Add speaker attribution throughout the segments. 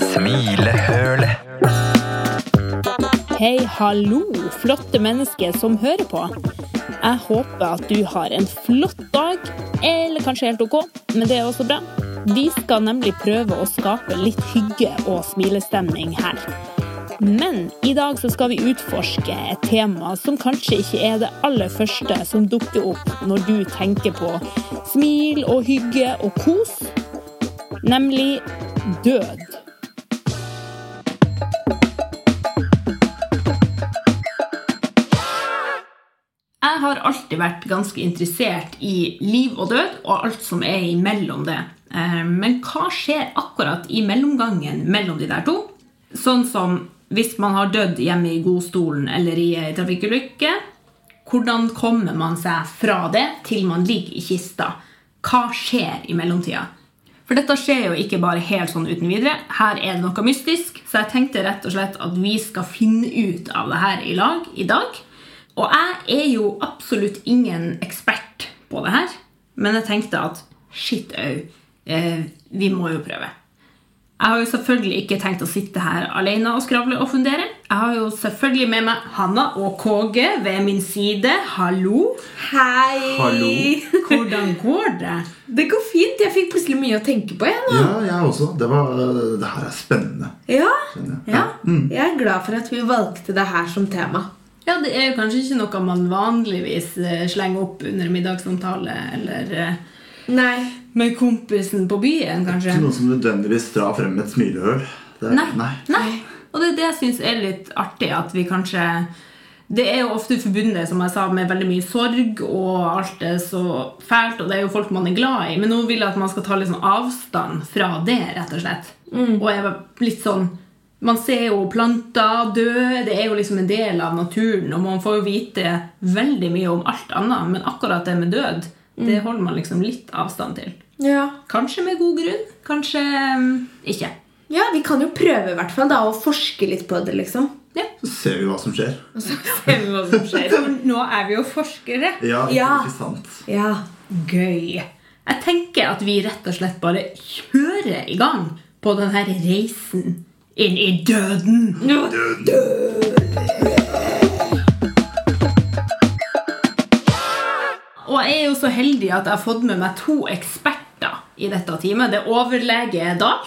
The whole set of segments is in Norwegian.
Speaker 1: Smilehøl.
Speaker 2: Hei, hallo, flotte mennesker som hører på. Jeg håper at du har en flott dag, eller kanskje helt ok, men det er også bra. Vi skal nemlig prøve å skape litt hygge og smilestemning her. Men i dag så skal vi utforske et tema som kanskje ikke er det aller første som dukker opp når du tenker på smil og hygge og kos, nemlig død. Jeg har alltid vært ganske interessert i liv og død og alt som er imellom det. Eh, Men hva skjer akkurat i mellomgangen mellom de der to? Sånn som hvis man har dødd hjemme i godstolen eller i ei trafikkulykke. Hvordan kommer man seg fra det til man ligger i kista? Hva skjer i mellomtida? For dette skjer jo ikke bare helt sånn uten videre. Her er det noe mystisk, så jeg tenkte rett og slett at vi skal finne ut av det her i lag i dag. Og jeg er jo absolutt ingen ekspert på det her, men jeg tenkte at shit au, eh, vi må jo prøve. Jeg har jo selvfølgelig ikke tenkt å sitte her alene og skravle og fundere. Jeg har jo selvfølgelig med meg Hanna og KG ved min side. Hallo!
Speaker 3: Hei!
Speaker 4: Hallo.
Speaker 2: Hvordan går det?
Speaker 3: Det går fint. Jeg fikk plutselig mye å tenke på igjen.
Speaker 4: Ja, jeg også. Det, var, det her er spennende.
Speaker 3: Ja.
Speaker 4: skjønner jeg.
Speaker 3: ja. Jeg er glad for at vi valgte det her som tema.
Speaker 2: Ja, det er jo kanskje ikke noe man vanligvis eh, slenger opp under middagssamtale eller eh,
Speaker 3: Nei.
Speaker 2: med kompisen på byen, kanskje.
Speaker 4: Ikke noe som nødvendigvis drar frem et smilehull. Det er-
Speaker 2: Nei.
Speaker 4: nei.
Speaker 2: Nei. Og det er det jeg syns er litt artig, at vi kanskje Det er jo ofte forbundet som jeg sa, med veldig mye sorg, og alt er så fælt, og det er jo folk man er glad i. Men nå vil jeg at man skal ta litt sånn avstand fra det, rett og slett. Og jeg var litt sånn Man ser jo planter dø, det er jo liksom en del av naturen, og man får jo vite veldig mye om alt annet, men akkurat det med død, det holder man liksom litt avstand til.
Speaker 3: Ja.
Speaker 2: Kanskje med god grunn, kanskje mm, ikke.
Speaker 3: ja, vi kan jo prøve i hvert fall da, å forske litt på det, liksom.
Speaker 2: Ja.
Speaker 4: Så ser vi hva som skjer.
Speaker 3: Ser vi hva som skjer.
Speaker 2: For nå er vi jo forskere.
Speaker 4: Ja,
Speaker 3: Ja.
Speaker 4: ikke sant?
Speaker 3: Ja.
Speaker 2: Gøy. Jeg tenker at vi rett og slett bare kjører i gang på denne reisen inn i døden. Og jeg er jo så heldig at jeg har fått med meg to eksperter i dette teamet. Det er overlege Dag,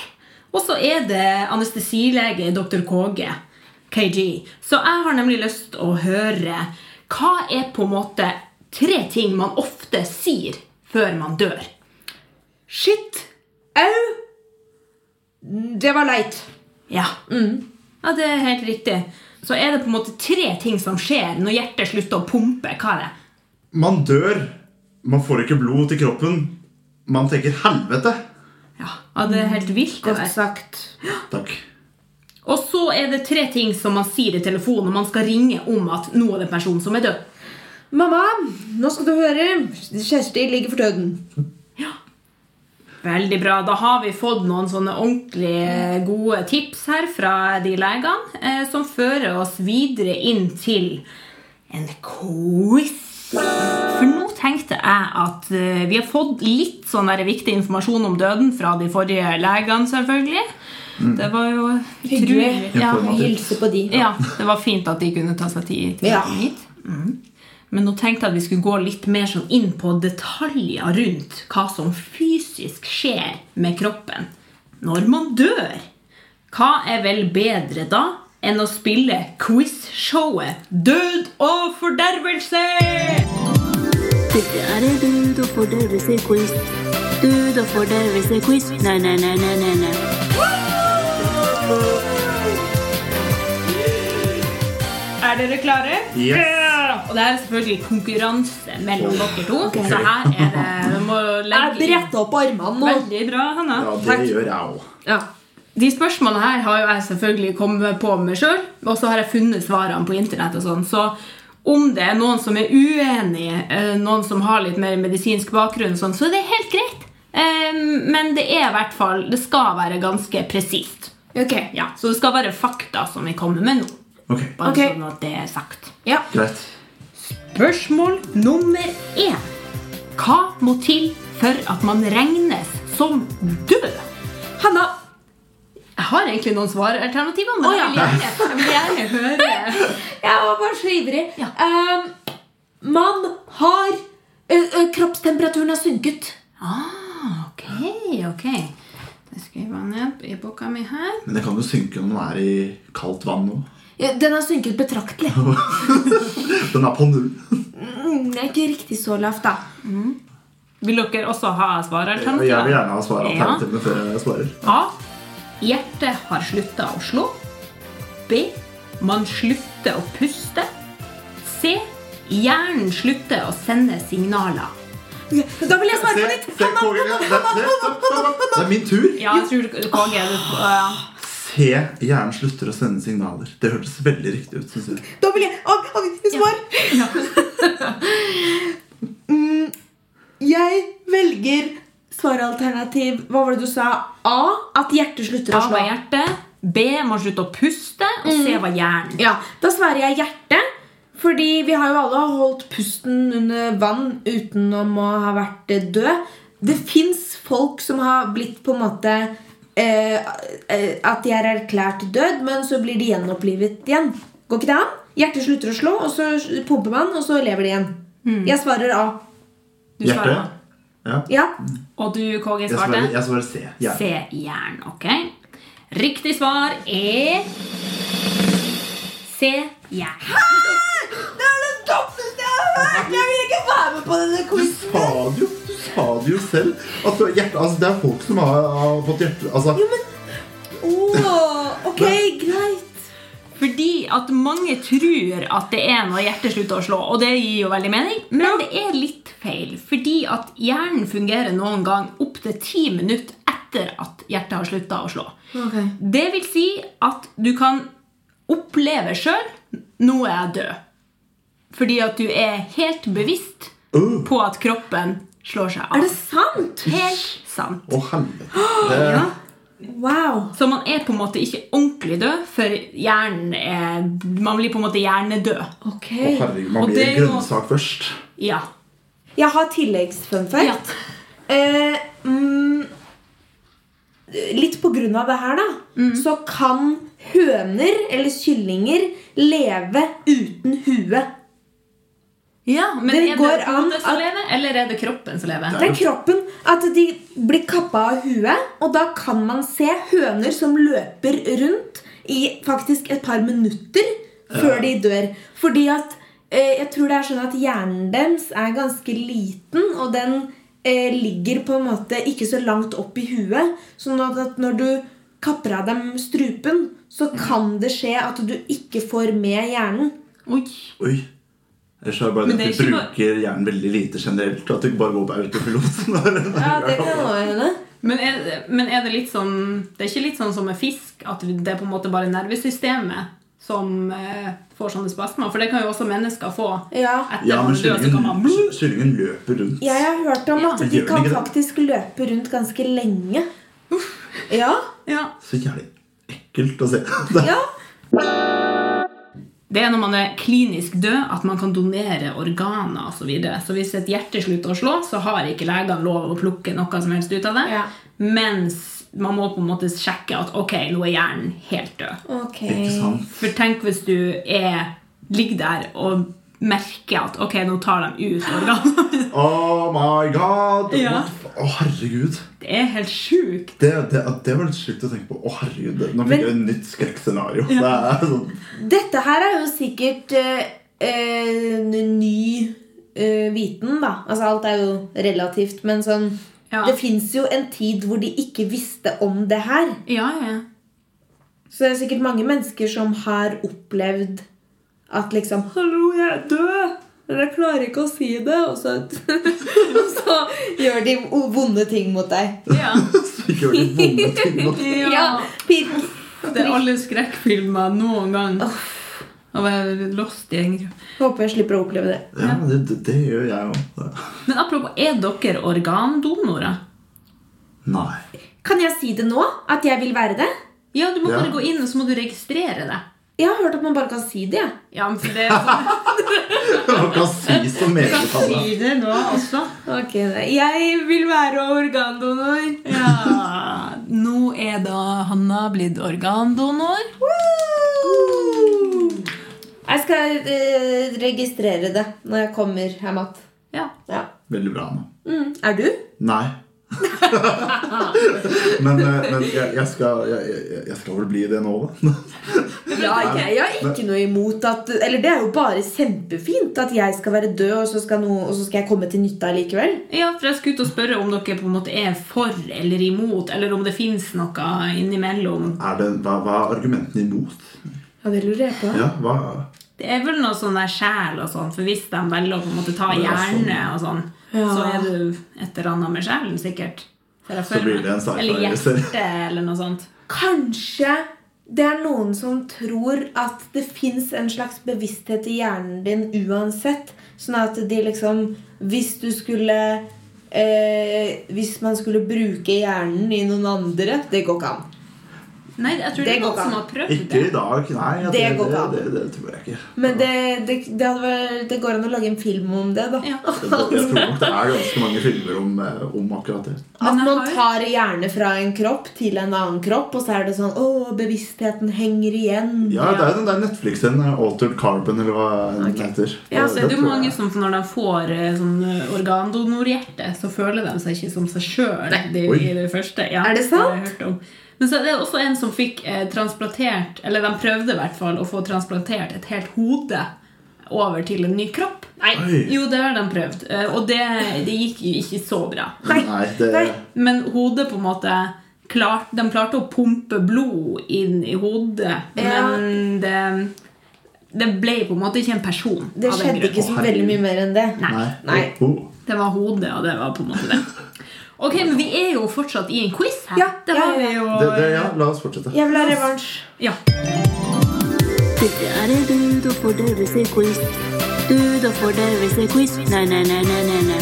Speaker 2: og så er det anestesilege dr. KG. KG. Så jeg har nemlig lyst til å høre hva er på en måte tre ting man ofte sier før man dør.
Speaker 3: Shit. Au. Det var leit. Mm.
Speaker 2: Ja. ja, det er helt riktig. Så er det på en måte tre ting som skjer når hjertet slutter å pumpe. Hva er det?
Speaker 4: Man dør. Man får ikke blod til kroppen. Man tenker 'helvete'.
Speaker 2: Ja, ja det er helt vilt. det der.
Speaker 3: Godt sagt.
Speaker 4: Takk.
Speaker 2: Og så er det tre ting som man sier i telefonen når man skal ringe om at nå er det en person som er død.
Speaker 3: Mamma, nå skal du høre. Kjersti ligger for døden.
Speaker 2: Veldig bra. Da har vi fått noen sånne ordentlig eh, gode tips her fra de legene, eh, som fører oss videre inn til en quiz. For nå tenkte jeg at eh, vi har fått litt sånn der viktig informasjon om døden fra de forrige legene, selvfølgelig. Det var jo
Speaker 3: Hyggelig.
Speaker 2: Ja,
Speaker 4: Informativt.
Speaker 3: Hilse på de.
Speaker 2: ja, det var fint at de kunne ta seg tid til å
Speaker 3: Ja.
Speaker 2: komme hit. Mm. Men nå tenkte jeg at vi skulle gå litt mer sånn inn på detaljer rundt hva som fysisk skjer med kroppen når man dør. Hva er vel bedre da enn å spille quiz-showet Død og fordervelse?
Speaker 5: Dette er en død og fordervelse-quiz. Død og fordervelse-quiz. Nei, nei, nei, nei, nei, nei.
Speaker 2: Er dere klare?
Speaker 4: Yes.
Speaker 2: Ja! Og det er selvfølgelig konkurranse mellom dere to. Så her er det Vi må
Speaker 3: Jeg
Speaker 2: legge inn-
Speaker 3: bretter opp armene nå.
Speaker 2: Veldig bra, Hanna.
Speaker 4: Ja, det
Speaker 2: Takk.
Speaker 4: gjør jeg òg.
Speaker 3: Ja.
Speaker 2: De spørsmålene her har jo jeg selvfølgelig kommet på meg sjøl, og så har jeg funnet svarene på internett. og sånn, så om det er noen som er uenig, eh, noen som har litt mer medisinsk bakgrunn, sånn, så er det helt greit. Eh, Men det er i hvert fall Det skal være ganske presist.
Speaker 3: Ok.
Speaker 2: Ja, så det skal være fakta som vi kommer med nå.
Speaker 4: Ok,
Speaker 2: Bare
Speaker 3: Ok.
Speaker 2: sånn at det er sagt.
Speaker 3: Ja.
Speaker 4: Greit.
Speaker 2: Spørsmål nummer én. Hva må til for at man regnes som død? egentlig noen svaralternativer, men
Speaker 3: Å, ja.
Speaker 2: jeg, vil gjerne, jeg vil gjerne høre.
Speaker 3: Jeg var bare så ivrig.
Speaker 2: Ja.
Speaker 3: Ehm, man har ø, ø, Kroppstemperaturen har sunket.
Speaker 2: Ah, ok, ok. Det skriver jeg ned i boka mi her.
Speaker 4: Men det kan jo synke når man er i kaldt vann nå.
Speaker 3: Ja, Den har sunket betraktelig.
Speaker 4: Den er på null.
Speaker 3: Mm, det er ikke riktig så lavt, da.
Speaker 2: Vil dere også ha
Speaker 4: Jeg vil
Speaker 2: svaralternativer?
Speaker 4: gjerne ha svaralternativene før jeg svarer.
Speaker 2: A. Hjertet har slutta å slå. B. Man slutter å puste. C. Hjernen slutter å sende signaler.
Speaker 3: Da vil jeg svare på nytt!
Speaker 4: Se, se, kongen, ja. Det, det, stopp, stopp, stopp. det er min tur.
Speaker 2: Ja, jeg tror du- KG du, ja.
Speaker 4: Se, hjernen slutter å sende signaler. Det hørtes veldig riktig ut. Synes jeg.
Speaker 3: Da vil jeg å, å, Svar! mm, jeg velger svaralternativ Hva var det du sa? A. At hjertet slutter
Speaker 2: A
Speaker 3: å slå.
Speaker 2: var hjertet. B. Man slutter å puste. Og C var hjernen.
Speaker 3: Ja, Da svarer jeg hjerte. Fordi vi har jo alle holdt pusten under vann utenom å ha vært eh, død. Det fins folk som har blitt på en måte eh, eh, At de er erklært død, men så blir de gjenopplivet igjen. Går ikke det an? Hjertet slutter å slå, og så pumper man, og så lever de igjen. Jeg svarer A.
Speaker 2: Du
Speaker 4: Hjerte?
Speaker 2: svarer.
Speaker 4: Ja.
Speaker 3: Ja.
Speaker 2: Og du, KG,
Speaker 4: Jeg svarer,
Speaker 2: svarte?
Speaker 4: jeg svarer C. Hjerne.
Speaker 2: C. Jern. Ok. Riktig svar er C. Jern.
Speaker 3: Det er det dummeste jeg har hørt! Jeg vil ikke være med på denne
Speaker 4: Du sa det jo, du sa det jo selv. At det, er hjerte, altså, det er folk som har, har fått hjerte... Altså,
Speaker 3: Jo, men Åh, Ok, greit.
Speaker 2: Fordi at mange tror at det er når hjertet slutter å slå, og det gir jo veldig mening, men det er litt feil. Fordi at hjernen fungerer noen gang opptil ti minutter etter at hjertet har slutta å slå. Det vil si at du kan oppleve sjøl nå er jeg død. Fordi at du er helt bevisst
Speaker 4: øh,
Speaker 2: på at kroppen slår seg
Speaker 3: Er
Speaker 2: av.
Speaker 3: det sant?
Speaker 2: Helt sant.
Speaker 4: Å, helvete. Det-
Speaker 3: Wow.
Speaker 2: Så man er på en måte ikke ordentlig død, for hjernen er, man blir på en måte hjernedød.
Speaker 3: Ok.
Speaker 4: Å, herregud, man
Speaker 2: Og
Speaker 4: blir
Speaker 2: det
Speaker 4: en
Speaker 2: er jo-
Speaker 4: grønnsak først.
Speaker 2: Ja.
Speaker 3: Jeg har tilleggsfunfact.
Speaker 2: Ja.
Speaker 3: Eh, mm, litt på grunn av det her, da, så kan høner eller kyllinger leve uten hue.
Speaker 2: Ja, men
Speaker 3: Det
Speaker 2: er
Speaker 3: går
Speaker 2: det
Speaker 3: an
Speaker 2: hodet som
Speaker 3: at-
Speaker 2: lever, eller er det kroppen som lever?
Speaker 3: Det er kroppen at de blir kappa av huet, og da kan man se høner som løper rundt i faktisk et par minutter før de dør. Fordi at eh, jeg tror det er sånn at hjernen deres er ganske liten, og den eh, ligger på en måte ikke så langt opp i huet. Sånn at, at når du kapper av dem strupen, så kan det skje at du ikke får med hjernen.
Speaker 2: Oi.
Speaker 4: Oi. Ellers er det bare
Speaker 2: Men det
Speaker 4: det
Speaker 2: er
Speaker 4: at vi
Speaker 2: ikke bare-
Speaker 4: bruker hjernen veldig lite generelt. og At du ikke bare går på autopilot. når den er
Speaker 3: Ja, det
Speaker 4: gammel.
Speaker 3: kan hende.
Speaker 2: Men er, det- men er det litt sånn Det er ikke litt sånn som med fisk, at det er på en måte bare nervesystemet som eh, får sånne spasmer? For det kan jo også mennesker få.
Speaker 3: Ja.
Speaker 2: etter
Speaker 4: Ja,
Speaker 2: man
Speaker 4: men
Speaker 2: dør, så kan sånn man-
Speaker 4: kyllingen, kyllingen løper rundt.
Speaker 3: Jeg har hørt om
Speaker 2: Ja.
Speaker 3: at
Speaker 4: Men
Speaker 3: de
Speaker 4: gjør den
Speaker 3: kan
Speaker 4: ikke det?
Speaker 3: faktisk løpe rundt ganske lenge. Ja.
Speaker 2: Ja.
Speaker 4: Så jævlig ekkelt å se. Det er
Speaker 3: ja.
Speaker 2: Det er når man er klinisk død at man kan donere organer osv. Så, videre. så hvis et hjerte slutter å slå, så har ikke legene lov å plukke noe som helst ut av det.
Speaker 3: Ja.
Speaker 2: Mens man må på en måte sjekke at ok, nå er hjernen helt død.
Speaker 3: Ok.
Speaker 4: ikke sant.
Speaker 2: For tenk hvis du er, ligger der og merker at ok, nå tar de ut organene.
Speaker 4: Oh my god! Å,
Speaker 2: Ja.
Speaker 4: herregud.
Speaker 2: Det er helt sjukt.
Speaker 4: Det, det, det var litt sjukt å tenke på. Å, herregud. det- Nå
Speaker 3: Men-
Speaker 4: fikk jeg et nytt skrekkscenario. Det er sånn
Speaker 3: Dette her er jo sikkert eh, eh, ny eh, viten, da. Altså alt er jo relativt, men sånn
Speaker 2: Ja.
Speaker 3: Det fins jo en tid hvor de ikke visste om det her.
Speaker 2: Ja, ja.
Speaker 3: Så det er sikkert mange mennesker som har opplevd at liksom 'Hallo, jeg er død!' Men jeg klarer ikke å si det. Og så, og så gjør de o- vonde ting mot deg.
Speaker 2: ja.
Speaker 4: så ikke gjør de vonde ting nå.
Speaker 2: ja.
Speaker 3: Pirk.
Speaker 2: Det er alle skrekkfilmer noen gang. Å være lost i en gruppe.
Speaker 3: Håper jeg slipper å oppleve det.
Speaker 4: Ja, det, det, det gjør jeg òg.
Speaker 2: Men apropos, er dere organdonorer?
Speaker 4: Nei.
Speaker 3: Kan jeg si det nå? At jeg vil være det?
Speaker 2: Ja, du må
Speaker 4: Ja.
Speaker 2: bare gå inn og så må du registrere det.
Speaker 3: Jeg har hørt at man bare kan si det. jeg.
Speaker 2: Ja, men for det er sånn
Speaker 4: Man kan si så
Speaker 2: du kan
Speaker 4: meget.
Speaker 2: si det nå også.
Speaker 3: Ok, nei. Jeg vil være organdonor.
Speaker 2: Ja, nå er
Speaker 1: er da Hanna blitt organdonor.
Speaker 3: Jeg skal eh, registrere det når jeg kommer hjem igjen.
Speaker 1: Ja.
Speaker 3: Ja.
Speaker 4: Veldig bra, Anna.
Speaker 3: Mm. Er du?
Speaker 4: Nei. men eh, men jeg, jeg, skal, jeg, jeg, jeg skal vel bli det nå, da.
Speaker 3: Ja, jeg har ikke noe imot at Eller det er jo bare kjempefint at jeg skal være død, og så skal, noe, og så skal jeg komme til nytte allikevel.
Speaker 2: Ja, for jeg skulle ut og spørre om dere på en måte er for eller imot, eller om det fins noe innimellom.
Speaker 4: Er det, hva, hva er argumentene imot?
Speaker 3: Ja, det lurer jeg på.
Speaker 4: Ja, hva
Speaker 2: Det er vel noe sånn der sjel og sånn, for hvis de velger å på en måte ta
Speaker 4: Ja, sånn.
Speaker 2: hjerne og sånn,
Speaker 3: Ja.
Speaker 2: så er du et eller annet med sjelen, sikkert. Ser jeg
Speaker 4: Så
Speaker 2: for
Speaker 4: blir
Speaker 2: meg.
Speaker 4: det en sci-fi
Speaker 2: Eller
Speaker 4: serie.
Speaker 2: hjerte, eller noe sånt.
Speaker 3: Kanskje det er noen som tror at det fins en slags bevissthet i hjernen din uansett. Sånn at de liksom Hvis du skulle eh, Hvis man skulle bruke hjernen i noen andre Det går ikke an.
Speaker 2: Nei, jeg tror det,
Speaker 3: Det
Speaker 2: er
Speaker 3: går
Speaker 2: noen som
Speaker 3: an.
Speaker 2: har prøvd
Speaker 4: Ikke
Speaker 2: det.
Speaker 4: i dag, nei. jeg
Speaker 3: Det
Speaker 4: tror-
Speaker 3: går ikke an.
Speaker 4: det, det, det tror jeg ikke.
Speaker 3: Men det, det, det, hadde vært, det går an å lage en film om det, da.
Speaker 2: Ja.
Speaker 4: Jeg tror nok det er ganske mange filmer om, eh, om akkurat det.
Speaker 3: At
Speaker 2: Men jeg
Speaker 3: man
Speaker 2: har jo-
Speaker 3: tar hjerne fra en kropp til en annen kropp, og så er det sånn Å, bevisstheten henger igjen.
Speaker 4: Ja, det er jo den der Netflix-en eh, Altered Carbon, eller hva den heter.
Speaker 2: Ja, så
Speaker 4: Det
Speaker 2: er det jo
Speaker 4: tror
Speaker 2: mange
Speaker 4: jeg.
Speaker 2: som når de får eh, sånn eh, organdonorhjerte, så føler de seg ikke som seg sjøl
Speaker 4: Oi.
Speaker 2: i det første. Ja,
Speaker 3: Er det
Speaker 2: har jeg
Speaker 3: sant?
Speaker 2: hørt om. Men så er det også en som fikk eh, transplantert, eller de prøvde i hvert fall å få transplantert et helt hode over til en ny kropp. Nei.
Speaker 4: Oi.
Speaker 2: Jo, det har de prøvd, eh, og det, det gikk jo ikke så bra.
Speaker 4: Nei, det,
Speaker 3: Nei.
Speaker 2: Men hodet på en måte klart, De klarte å pumpe blod inn i hodet,
Speaker 3: Ja.
Speaker 2: men det, det ble på en måte ikke en person.
Speaker 3: Det
Speaker 2: av den
Speaker 3: skjedde
Speaker 2: grunn.
Speaker 3: ikke så veldig mye mer enn det.
Speaker 4: nei.
Speaker 3: Nei.
Speaker 4: Oh,
Speaker 2: Det var hodet, og det var på en måte det. Ok, men vi er jo fortsatt i en quiz her.
Speaker 3: Ja,
Speaker 2: det
Speaker 3: ja,
Speaker 2: har
Speaker 3: ja.
Speaker 2: vi jo.
Speaker 4: oh. Det, det, ja, la oss fortsette.
Speaker 3: Jeg vil ha revansj.
Speaker 2: Ja.
Speaker 5: Dette er en død og fordøvelse-quiz. Død og fordøvelse-quiz. Na-na-na-na-na.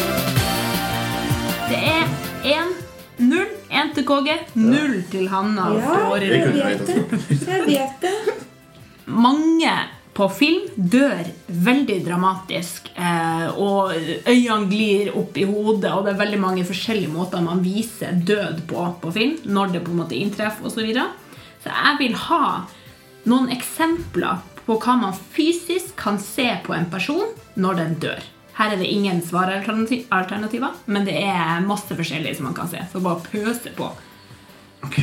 Speaker 2: Det er 1-0. 1 til KG, 0 til Hanna.
Speaker 3: Ja,
Speaker 2: for
Speaker 4: Jeg
Speaker 2: året.
Speaker 4: kunne
Speaker 3: jeg vet
Speaker 4: vite det.
Speaker 3: det. Jeg vet det.
Speaker 2: Mange på film dør veldig dramatisk, eh, og øynene glir opp i hodet, og det er veldig mange forskjellige måter man viser død på på film, når det på en måte inntreffer osv. Så, videre. så jeg vil ha noen eksempler på hva man fysisk kan se på en person når den dør. Her er det ingen svaralternati- alternativer, men det er masse forskjellige som man kan se. Så bare pøse på.
Speaker 4: Ok.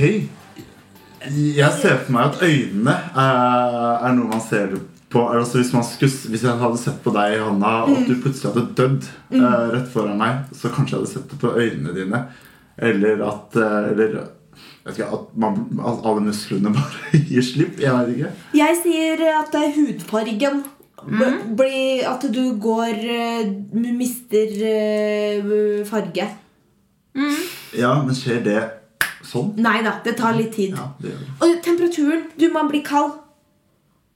Speaker 4: Jeg ser for meg at øynene eh, er noe man ser på altså hvis, man skulle, hvis jeg hadde sett på deg, Hanna, og at du plutselig hadde dødd eh, rett foran meg, så kanskje jeg hadde sett det på øynene dine. Eller at, eh, eller, jeg vet ikke, at, man, at alle musklene bare gir slipp. Jeg vet ikke.
Speaker 3: Jeg sier at det er hudfargen.
Speaker 4: Mm.
Speaker 3: B- Bli, at du går eh, Du mister eh, farge.
Speaker 4: Ja, men skjer det sånn?
Speaker 3: Nei da, det tar litt tid.
Speaker 4: Ja, det gjør det.
Speaker 3: Og temperaturen. Du, man blir kald.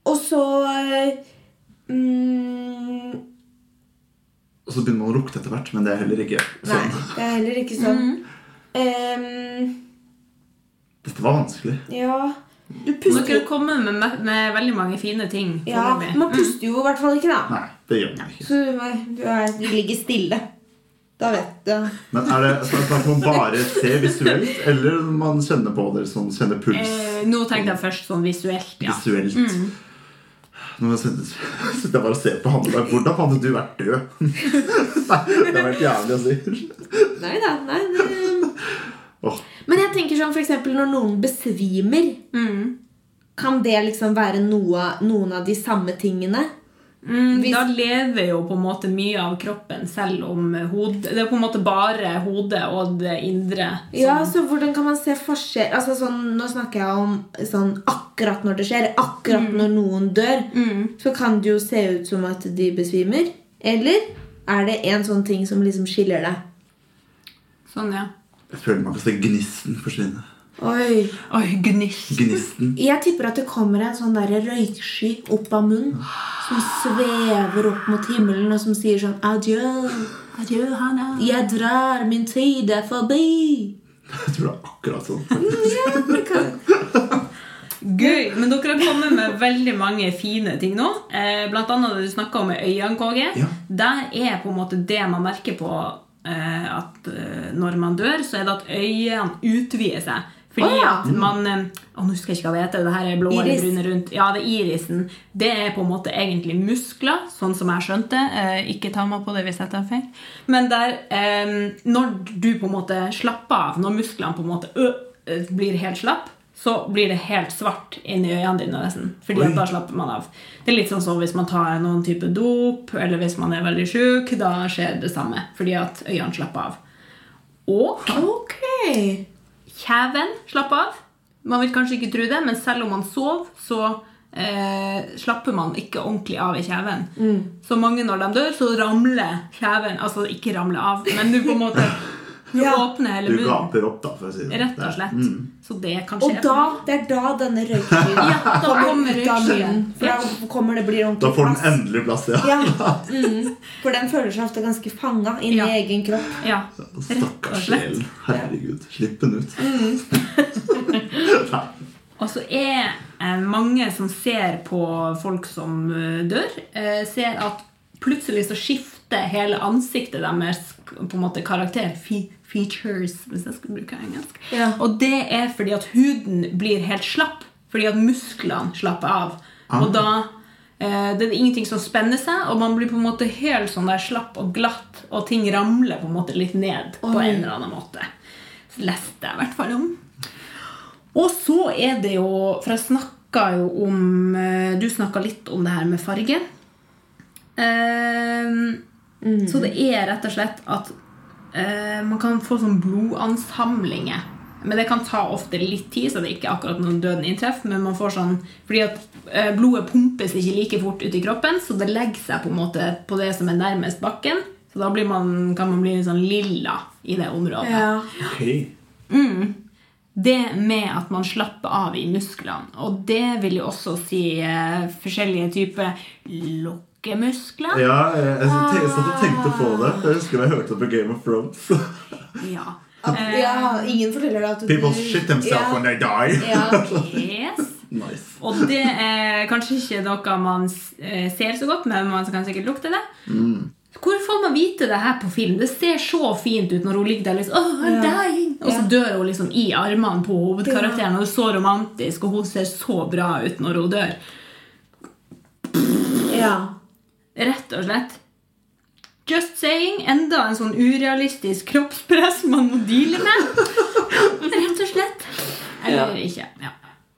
Speaker 3: Og så eh, mm,
Speaker 4: Og så begynner man å lukte etter hvert, men det er heller ikke
Speaker 3: Nei,
Speaker 4: sånn. Mm.
Speaker 3: det er heller ikke sånn. Em,
Speaker 4: Dette var vanskelig.
Speaker 3: ja Du
Speaker 2: Så
Speaker 3: puster
Speaker 2: dere
Speaker 3: jo
Speaker 2: kommer med, med, med veldig mange fine ting.
Speaker 3: ja,
Speaker 2: foreløpig.
Speaker 3: Man puster jo i hvert fall ikke, da.
Speaker 4: Mm. Nei, det gjør man ikke.
Speaker 3: Så du, du, er, du ligger stille. Da vet du.
Speaker 4: Men er det sånn at man bare ser visuelt, eller man kjenner på det, sånn, kjenner puls
Speaker 2: Eh, nå tenkte jeg først sånn visuelt, ja. Mm.
Speaker 4: visuelt? Nå må jeg sette- sitter jeg bare og ser på han der. Hvordan hadde du vært død? Nei, det var helt jævlig å si.
Speaker 3: Nei da. Nei, det-
Speaker 4: Åh.
Speaker 3: Men jeg tenker sånn for eksempel når noen besvimer Kan det liksom være noe, noen av de samme tingene?
Speaker 2: Mm,
Speaker 3: Hvis-
Speaker 2: Da lever jo på en måte mye av kroppen selv om hodet Det er på en måte bare hodet og det indre.
Speaker 3: Ja, så hvordan kan man se forskjell altså, sånn, Nå snakker jeg om sånn, akkurat når det skjer. Akkurat når noen dør, så kan det jo se ut som at de besvimer. Eller er det en sånn ting som liksom skiller det?
Speaker 2: Sånn, ja.
Speaker 4: Jeg føler man kan se gnisten forsvinne.
Speaker 3: Oi.
Speaker 2: Oi, gnist.
Speaker 4: Gnisten.
Speaker 3: Jeg tipper at det kommer en sånn der røyksky opp av munnen som svever opp mot himmelen, og som sier sånn Adjø,
Speaker 2: Adjø, Hanna.
Speaker 3: jeg drar, min tid er forbi.
Speaker 4: Jeg tror det er akkurat sånn.
Speaker 3: Ja, det kan...
Speaker 2: Gøy. Men dere har kommet med veldig mange fine ting nå. Eh, blant annet det du snakka om med øynene, KG.
Speaker 4: Ja.
Speaker 2: Der er på en måte det man merker på eh, at eh, når man dør, så er det at øynene utvider seg. Fordi
Speaker 3: Å, ja.
Speaker 2: at man eh, å, Nå husker jeg ikke hva det heter. Det her er blå
Speaker 3: Iris.
Speaker 2: eller brune rundt. Ja, det er irisen. Det er på en måte egentlig muskler, sånn som jeg skjønte. Eh, ikke ta meg på det hvis jeg tar feil. Men der eh, Når du på en måte slapper av, når musklene på en måte ø, eh, blir helt slapp, så blir det helt svart inni øynene dine nesten. Fordi
Speaker 4: Oi.
Speaker 2: at da slapper man av. Det er litt sånn som hvis man tar noen type dop, eller hvis man er veldig sjuk. Da skjer det samme, fordi at øynene slapper av. Og
Speaker 3: Ok.
Speaker 2: kjeven slapp av. Man vil kanskje ikke tro det, men selv om man sover, så eh, slapper man ikke ordentlig av i kjeven.
Speaker 3: Mm.
Speaker 2: Så mange når de dør, så ramler kjeven Altså ikke ramler av, men du på en måte Du
Speaker 3: Ja.
Speaker 2: åpner hele
Speaker 4: Du
Speaker 2: munnen.
Speaker 4: gaper opp, da, for å si det.
Speaker 2: Mm. Rett og slett.
Speaker 4: Mm.
Speaker 2: Så det kan
Speaker 3: Og
Speaker 2: skje.
Speaker 3: da, det er da denne røyken
Speaker 2: ja, da kommer
Speaker 3: ut av munnen.
Speaker 2: skyen.
Speaker 3: For da kommer det blir
Speaker 4: Da
Speaker 3: ordentlig
Speaker 4: får den
Speaker 3: plass.
Speaker 4: endelig plass, ja.
Speaker 3: Ja. Mm. For den føler seg ofte ganske fanga inni
Speaker 2: Ja.
Speaker 3: egen kropp.
Speaker 2: Ja, rett og
Speaker 4: Stakkars
Speaker 2: slett.
Speaker 4: sjelen. Herregud. Slipp den ut. Nei.
Speaker 2: Og så er eh, mange som ser på folk som eh, dør, eh, ser at plutselig så skifter hele ansiktet deres på en måte karakter. Fe features, hvis jeg skulle bruke engelsk.
Speaker 3: Ja.
Speaker 2: Og det er fordi at huden blir helt slapp. Fordi at musklene slapper av. Og da eh, det er ingenting som spenner seg, og man blir på en måte helt sånn der slapp og glatt, og ting ramler på en måte litt ned på en eller annen måte. Leste jeg i hvert fall om. Og så er det jo For jeg snakka jo om eh, Du snakka litt om det her med farge. Ehm, Så det er rett og slett at eh, man kan få sånn blodansamlinger. Men det kan ta ofte litt tid, så det er ikke akkurat når døden inntreffer. Men man får sånn, fordi at eh, blodet pumpes ikke like fort ut i kroppen, så det legger seg på en måte på det som er nærmest bakken. Så da blir man, kan man bli litt sånn lilla i det området.
Speaker 4: Ok.
Speaker 2: Det med at man slapper av i musklene. Og det vil jo også si eh, forskjellige typer lukkemuskler.
Speaker 4: Ja, jeg, jeg tenkte, satt og tenkte på det. Jeg husker da jeg hørte det på Game of Thrones.
Speaker 2: Ja.
Speaker 3: At,
Speaker 2: Eh.
Speaker 3: ja, ingen forteller deg at du
Speaker 4: People shit themselves
Speaker 3: Ja.
Speaker 4: when they die.
Speaker 3: Ja.
Speaker 2: Yes.
Speaker 4: Nice.
Speaker 2: Og det er kanskje ikke noe man s- eh, ser så godt, men man kan sikkert lukte det. Hvor får man vite det her på film? Det ser så fint ut når hun ligger der liksom, «Åh, I'm dying! Og så dør hun liksom i armene på hovedkarakteren, og det er så romantisk, og hun ser så bra ut når hun dør.
Speaker 3: Ja.
Speaker 2: Rett og slett. Just saying. Enda en sånn urealistisk kroppspress man må deale med. Rett og slett. Eller ikke. Ja.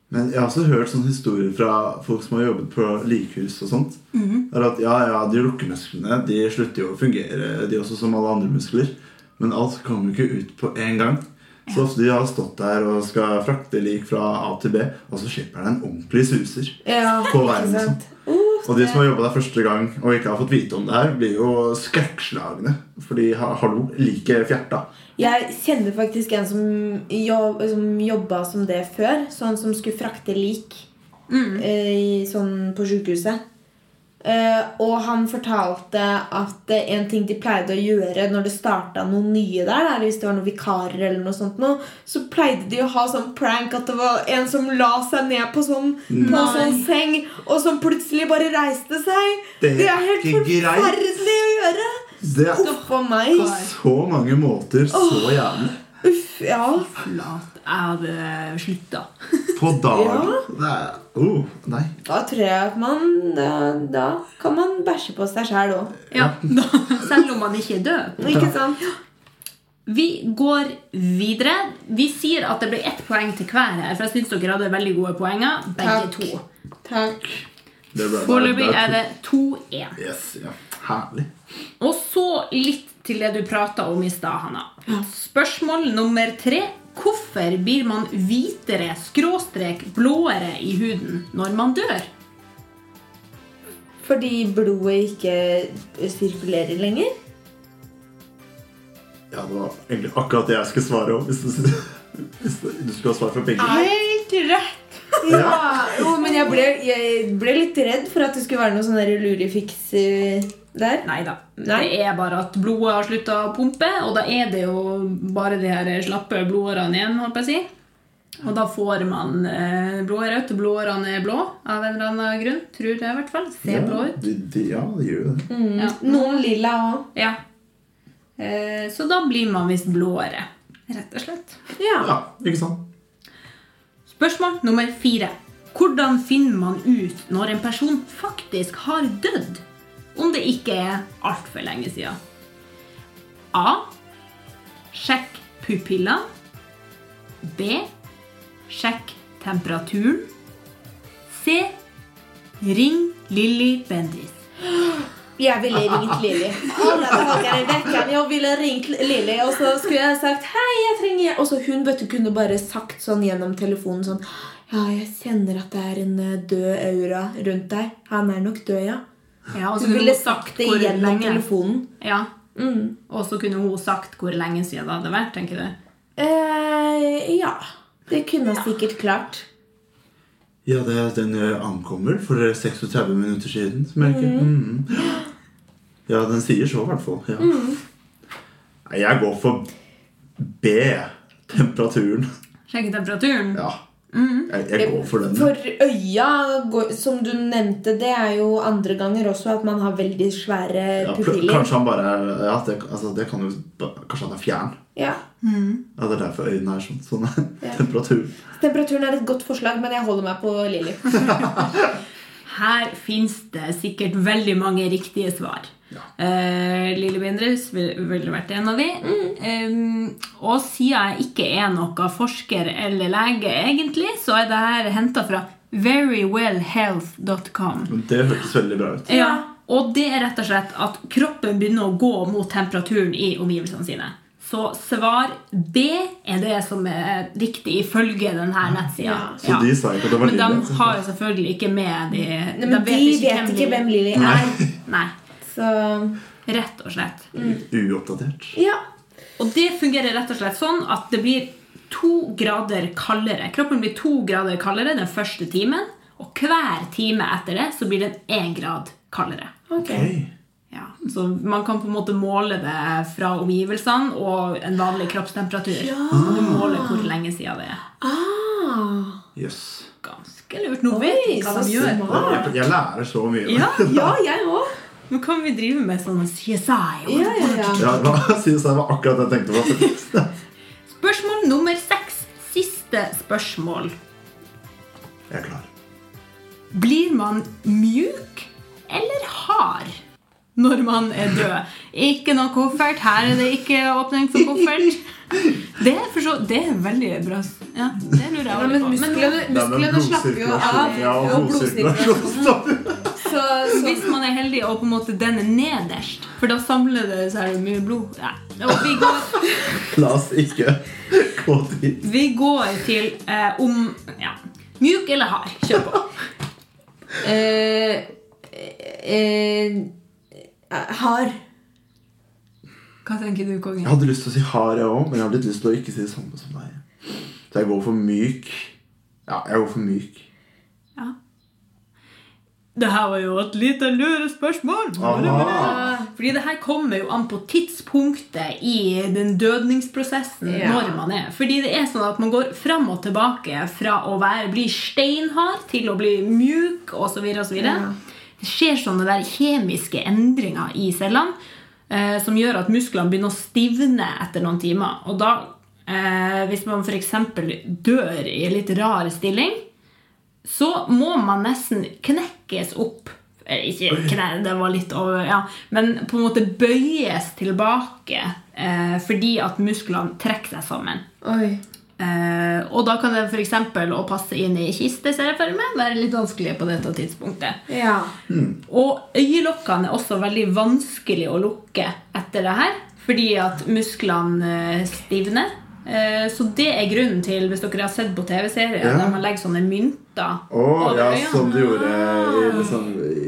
Speaker 4: Men jeg har også hørt sånne historier fra folk som har jobbet på likhus og sånt.
Speaker 2: Mhm.
Speaker 4: Er at ja, ja, De lukkemusklene de slutter jo å fungere, de også som alle andre muskler. Men alt kommer jo ikke ut på en gang. Så ofte de har stått der og skal frakte lik fra A til B, og så slipper den en ordentlig suser.
Speaker 3: ja.
Speaker 4: På verden, liksom.
Speaker 3: Ikke sant? Uh,
Speaker 4: Og de som har jobba der første gang og ikke har fått vite om det her, blir jo skrekkslagne. Fordi ha- hallo, liket fjerta.
Speaker 3: Jeg kjenner faktisk en som, jobb, som jobba som det før. Sånn som skulle frakte lik
Speaker 4: Mm.
Speaker 3: eh, i- sånn på sjukehuset. Eh, og han fortalte at eh, en ting de pleide å gjøre når det starta noen nye der, da, eller hvis det var noen vikarer, eller noe sånt noe, så pleide de å ha sånn prank at det var en som la seg ned på sånn, på sånn seng, og som plutselig bare reiste seg.
Speaker 4: Det er
Speaker 3: Det er helt
Speaker 4: ikke greit.
Speaker 3: forferdelig å gjøre!
Speaker 4: Det er
Speaker 3: Uff a meg.
Speaker 4: på så mange måter så jævlig.
Speaker 3: Uff, ja.
Speaker 2: Lat. Jeg hadde slutta.
Speaker 4: På dagen. Det er, oh, nei.
Speaker 3: Da tror jeg at man Da, da kan man bæsje på seg sjæl òg.
Speaker 2: Ja. da- Selv om man ikke er død.
Speaker 3: Ikke sant?
Speaker 2: Vi går videre. Vi sier at det blir ett poeng til hver her, for jeg syns dere hadde veldig gode poenger, begge
Speaker 3: Takk.
Speaker 2: to.
Speaker 3: Takk.
Speaker 4: Det ble-
Speaker 2: Foreløpig
Speaker 4: ble-
Speaker 2: er det 2-1.
Speaker 4: Yes, ja. Herlig.
Speaker 2: Og så litt til det du prata om i stad, Hanna. Spørsmål nummer tre. Hvorfor blir man hvitere skråstrek blåere i huden når man dør?
Speaker 3: Fordi blodet ikke sirkulerer lenger.
Speaker 4: Ja, det var egentlig akkurat det jeg skulle svare om. Hvis du, hvis du du skulle ha svar fra begge.
Speaker 2: Helt rett.
Speaker 4: Ja.
Speaker 3: Jo, men jeg ble, jeg ble litt redd for at det skulle være noe sånn der lurifiks eh, der.
Speaker 2: Nei da. Det
Speaker 3: Nei.
Speaker 2: er bare at blodet har slutta å pumpe, og da er det jo bare de her slappe blodårene igjen. holdt jeg på å si. Og da får man eh, blodet rødt, og blodårene er blå av en eller annen grunn. Tror jeg i hvert fall. Ser blå ut.
Speaker 4: De, de, ja, det gjør jo
Speaker 3: Mm.
Speaker 4: det.
Speaker 2: Ja.
Speaker 3: Noen lilla òg.
Speaker 2: Ja. Eh, Så da blir man visst blåere, rett og slett.
Speaker 3: Ja.
Speaker 4: Ja, ikke sant?
Speaker 2: Spørsmål nummer fire. Hvordan finner man ut når en person faktisk har dødd? Om det ikke er altfor lenge siden. A. Sjekk pupillene. B. Sjekk temperaturen. C. Ring Lilly Bendriss.
Speaker 3: Jeg ville ringt Lilly. Å, nei, det var ikke den vekken. Jeg ville ringt Lilly, og så skulle jeg sagt Hei, jeg trenger hjelp. Og så hun vet du kunne bare sagt sånn gjennom telefonen sånn Ja, jeg kjenner at det er en eh, død aura rundt deg. Han er nok død, ja.
Speaker 2: Ja, og så
Speaker 3: Hun
Speaker 2: kunne
Speaker 3: ville
Speaker 2: hun sagt
Speaker 3: sagt det
Speaker 2: hvor
Speaker 3: gjennom
Speaker 2: lenge.
Speaker 3: telefonen.
Speaker 2: Ja,
Speaker 3: Mm.
Speaker 2: Og så kunne hun sagt hvor lenge siden det hadde vært. tenker du?
Speaker 3: Eh, ja. Det kunne jeg sikkert klart.
Speaker 4: Ja, det er den eh, ankommer for eh, 36 minutter siden. som jeg ikke-
Speaker 3: Mm.
Speaker 4: Mhm. Ja, den sier så, i hvert fall. Ja.
Speaker 3: Mm.
Speaker 4: Nei, Jeg går for B. Temperaturen.
Speaker 2: Sjekke temperaturen.
Speaker 4: Ja. Jeg, jeg går for den.
Speaker 3: Mm. For øya, går- som du nevnte, det er jo andre ganger også at man har veldig svære
Speaker 4: Ja, pl-
Speaker 3: pupiller.
Speaker 4: kanskje han bare er- ja, det, altså, det kan jo, Kanskje han er fjern.
Speaker 3: Ja.
Speaker 4: Ja, Det er derfor øynene er sånn. sånn
Speaker 3: Ja.
Speaker 4: Temperatur.
Speaker 3: Temperaturen er et godt forslag, men jeg holder meg på Lilly.
Speaker 2: Her fins det sikkert veldig mange riktige svar.
Speaker 4: Ja.
Speaker 2: Eh, Lille Bindrus ville vil vært en av de. Eh, og siden jeg ikke er noen forsker eller lege, egentlig, så er det her henta fra verywellhealth.com.
Speaker 4: Men Det hørtes veldig bra ut.
Speaker 2: Ja, og det er rett og slett at kroppen begynner å gå mot temperaturen i omgivelsene sine. Så svar B er det som er riktig ifølge denne nettsida.
Speaker 4: Så de sa ikke at det var
Speaker 2: Men de
Speaker 4: Lilly.
Speaker 2: har jo selvfølgelig ikke med de
Speaker 3: Nei, men de vet ikke hvem Lilly er.
Speaker 2: Nei,
Speaker 3: Så
Speaker 2: rett og slett.
Speaker 4: Uoppdatert.
Speaker 3: ja.
Speaker 2: Og det fungerer rett og slett sånn at det blir to grader kaldere. Kroppen blir to grader kaldere den første timen, og hver time etter det så blir den én grad kaldere.
Speaker 3: Ok.
Speaker 4: Hey.
Speaker 2: Ja, så Man kan på en måte måle det fra omgivelsene og en vanlig kroppstemperatur. Så kan du måle hvor lenge siden det er.
Speaker 3: Ah.
Speaker 4: Yes.
Speaker 2: Ganske lurt. Nå
Speaker 3: Oi,
Speaker 2: vet vi hva
Speaker 3: så
Speaker 2: de gjør.
Speaker 4: Jeg,
Speaker 3: smart.
Speaker 4: jeg lærer så mye.
Speaker 2: Ja,
Speaker 3: Ja, jeg òg.
Speaker 2: Nå kan vi drive med sånn CSI.
Speaker 3: Ja, ja, ja.
Speaker 4: Ja, hva synes jeg var akkurat det jeg tenkte på?
Speaker 2: Spørsmål nummer seks. Siste spørsmål.
Speaker 4: Jeg er klar.
Speaker 2: Blir man mjuk eller hard når man er død? Ikke noe koffert. Her er det ikke åpning for koffert. Det er, for så, det er veldig bra. Ja, det lurer jeg
Speaker 3: Nei,
Speaker 2: også
Speaker 3: men
Speaker 2: på. Men
Speaker 3: musklene, musklene slapper jo av.
Speaker 4: Ja,
Speaker 3: og
Speaker 4: og blodsirkulasjon. stopp.
Speaker 3: Så, så
Speaker 2: hvis man er heldig og på en måte den er nederst, for da samler det seg mye blod Nei. Og vi går,
Speaker 4: La oss ikke gå dit.
Speaker 2: vi går til eh, om ja. Mjuk eller hard? Kjør på.
Speaker 3: eh, eh, eh, Har.
Speaker 2: Hva tenker du, kongen?
Speaker 4: Jeg hadde lyst til å si hard, jeg òg, men jeg har litt lyst til å ikke si det samme som deg. Så jeg går for myk. Ja, jeg går for myk.
Speaker 2: Det her var jo et lite lurespørsmål.
Speaker 4: Aha.
Speaker 2: Fordi det her kommer jo an på tidspunktet i den dødningsprosessen
Speaker 3: Ja.
Speaker 2: når man er. Fordi det er sånn at man går fram og tilbake fra å være, bli steinhard til å bli mjuk osv. osv.
Speaker 3: Ja.
Speaker 2: Det skjer sånne der kjemiske endringer i cellene eh, som gjør at musklene begynner å stivne etter noen timer. Og da, eh, hvis man f.eks. dør i en litt rar stilling, så må man nesten knekkes opp. Eh, Ikke kne, det var litt over, ja. Men på en måte bøyes tilbake eh, fordi at musklene trekker seg sammen.
Speaker 3: Oi.
Speaker 2: Eh, og da kan det f.eks. å passe inn i kiste ser jeg for meg, være litt vanskelig på dette tidspunktet.
Speaker 3: Ja.
Speaker 2: Og øyelokkene er også veldig vanskelig å lukke etter det her fordi at musklene eh, stivner. Eh, Så det er grunnen til, hvis dere har sett på TV-serier,
Speaker 4: Ja.
Speaker 2: der man legger sånne mynter
Speaker 4: Å, ja,
Speaker 2: øynene.
Speaker 4: som de gjorde i, liksom,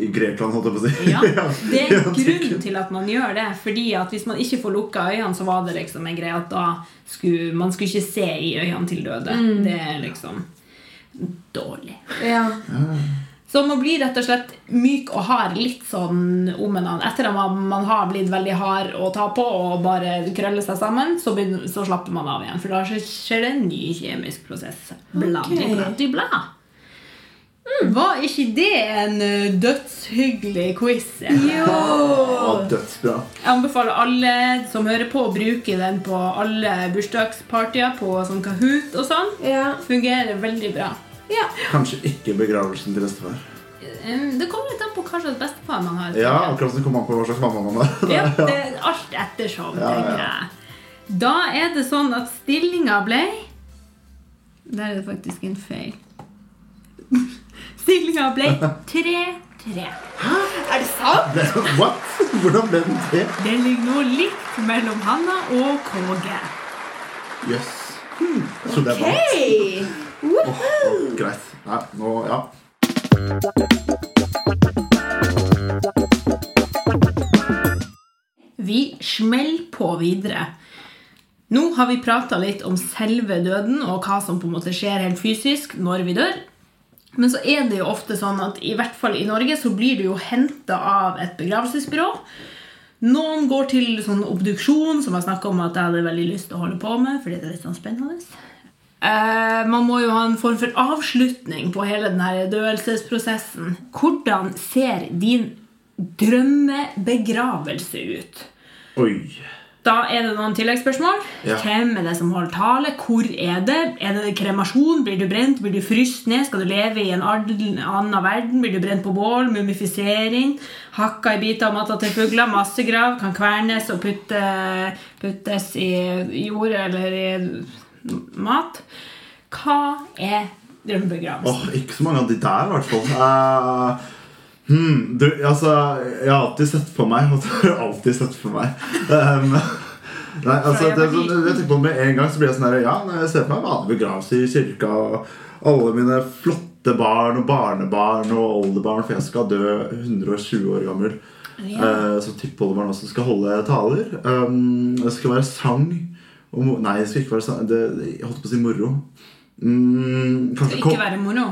Speaker 4: i Grekland, holdt jeg på å si.
Speaker 2: Ja, det er grunnen til at man gjør det. Fordi at hvis man ikke får lukka øynene, så var det liksom en greie at da skulle man skulle ikke se i øynene til døde. Det er liksom dårlig.
Speaker 3: ja.
Speaker 2: Så man blir rett og slett myk og hard litt sånn om en annen. Etter at man, man har blitt veldig hard å ta på og bare krøller seg sammen, så, begynner, så slapper man av igjen. For da skjer det en ny kjemisk prosess. Bla,
Speaker 3: Ok.
Speaker 2: di, bla, di, bla. Mm, Var ikke det en eh, dødshyggelig quiz?
Speaker 4: Og dødsbra.
Speaker 2: Jeg anbefaler alle som hører på, å bruke den på alle bursdagspartyer, på sånn Kahoot og sånn.
Speaker 3: Ja.
Speaker 2: Fungerer veldig bra.
Speaker 3: ja.
Speaker 4: Kanskje ikke begravelsen til bestefar.
Speaker 2: Eh, Det kommer litt an på hva slags bestefar man har.
Speaker 4: Ja,
Speaker 2: tenker jeg.
Speaker 4: akkurat som kommer an på hva slags mamma man er.
Speaker 2: Ja, det er alt ettersom,
Speaker 4: Ja, ja.
Speaker 2: tenker jeg. Da er det sånn at stillinga ble Der er det faktisk en feil. Stillinga ble 3-3.
Speaker 3: Er det sant?
Speaker 4: What? Hvordan ble den det?
Speaker 2: Det ligger nå likt mellom Hanna og KG.
Speaker 4: Jøss. Hmm. Jeg trodde jeg vant.
Speaker 3: Hei!
Speaker 4: Åh, Greit. Nei, nå, ja.
Speaker 2: Vi smeller på videre. Nå har vi prata litt om selve døden og hva som på en måte skjer helt fysisk når vi dør. Men så er det jo ofte sånn at i hvert fall i Norge så blir du jo henta av et begravelsesbyrå. Noen går til sånn obduksjon, som jeg snakka om at jeg hadde veldig lyst til å holde på med. fordi det er litt sånn spennende. Eh, man må jo ha en form for avslutning på hele den her døelsesprosessen. Hvordan ser din drømmebegravelse ut?
Speaker 4: Oi.
Speaker 2: Da er det noen tilleggsspørsmål.
Speaker 4: Ja.
Speaker 2: Hvem er det som holder tale? Hvor er det? Er det kremasjon? Blir du brent? Blir du fryst ned? Skal du leve i en ard- annen verden? Blir du brent på bål? Mumifisering? Hakka i biter og matta til fugler? Massegrav? Kan kvernes og putte, puttes i jord eller i mat? Hva er drømmebegravelsen?
Speaker 4: Åh, ikke så mange av de der, i hvert fall. Eh, hmm, du, altså, jeg har alltid sett for meg at Jeg har alltid sett for meg um, Nei, altså,
Speaker 2: jeg
Speaker 4: det,
Speaker 2: var
Speaker 4: er sånn- jeg tenker på Med en gang så blir jeg sånn her Ja, når jeg ser for meg en vanlig begravelse i kirka og alle mine flotte barn og barnebarn og oldebarn, for jeg skal dø 120 år gammel. Eh, så tippoldebarn også skal holde taler. Um, det skal være sang. Og, mo- nei, det skal ikke være sang. Det, jeg holdt på å si moro. Mm, kanskje
Speaker 2: Skal
Speaker 4: kom-
Speaker 2: ikke være moro?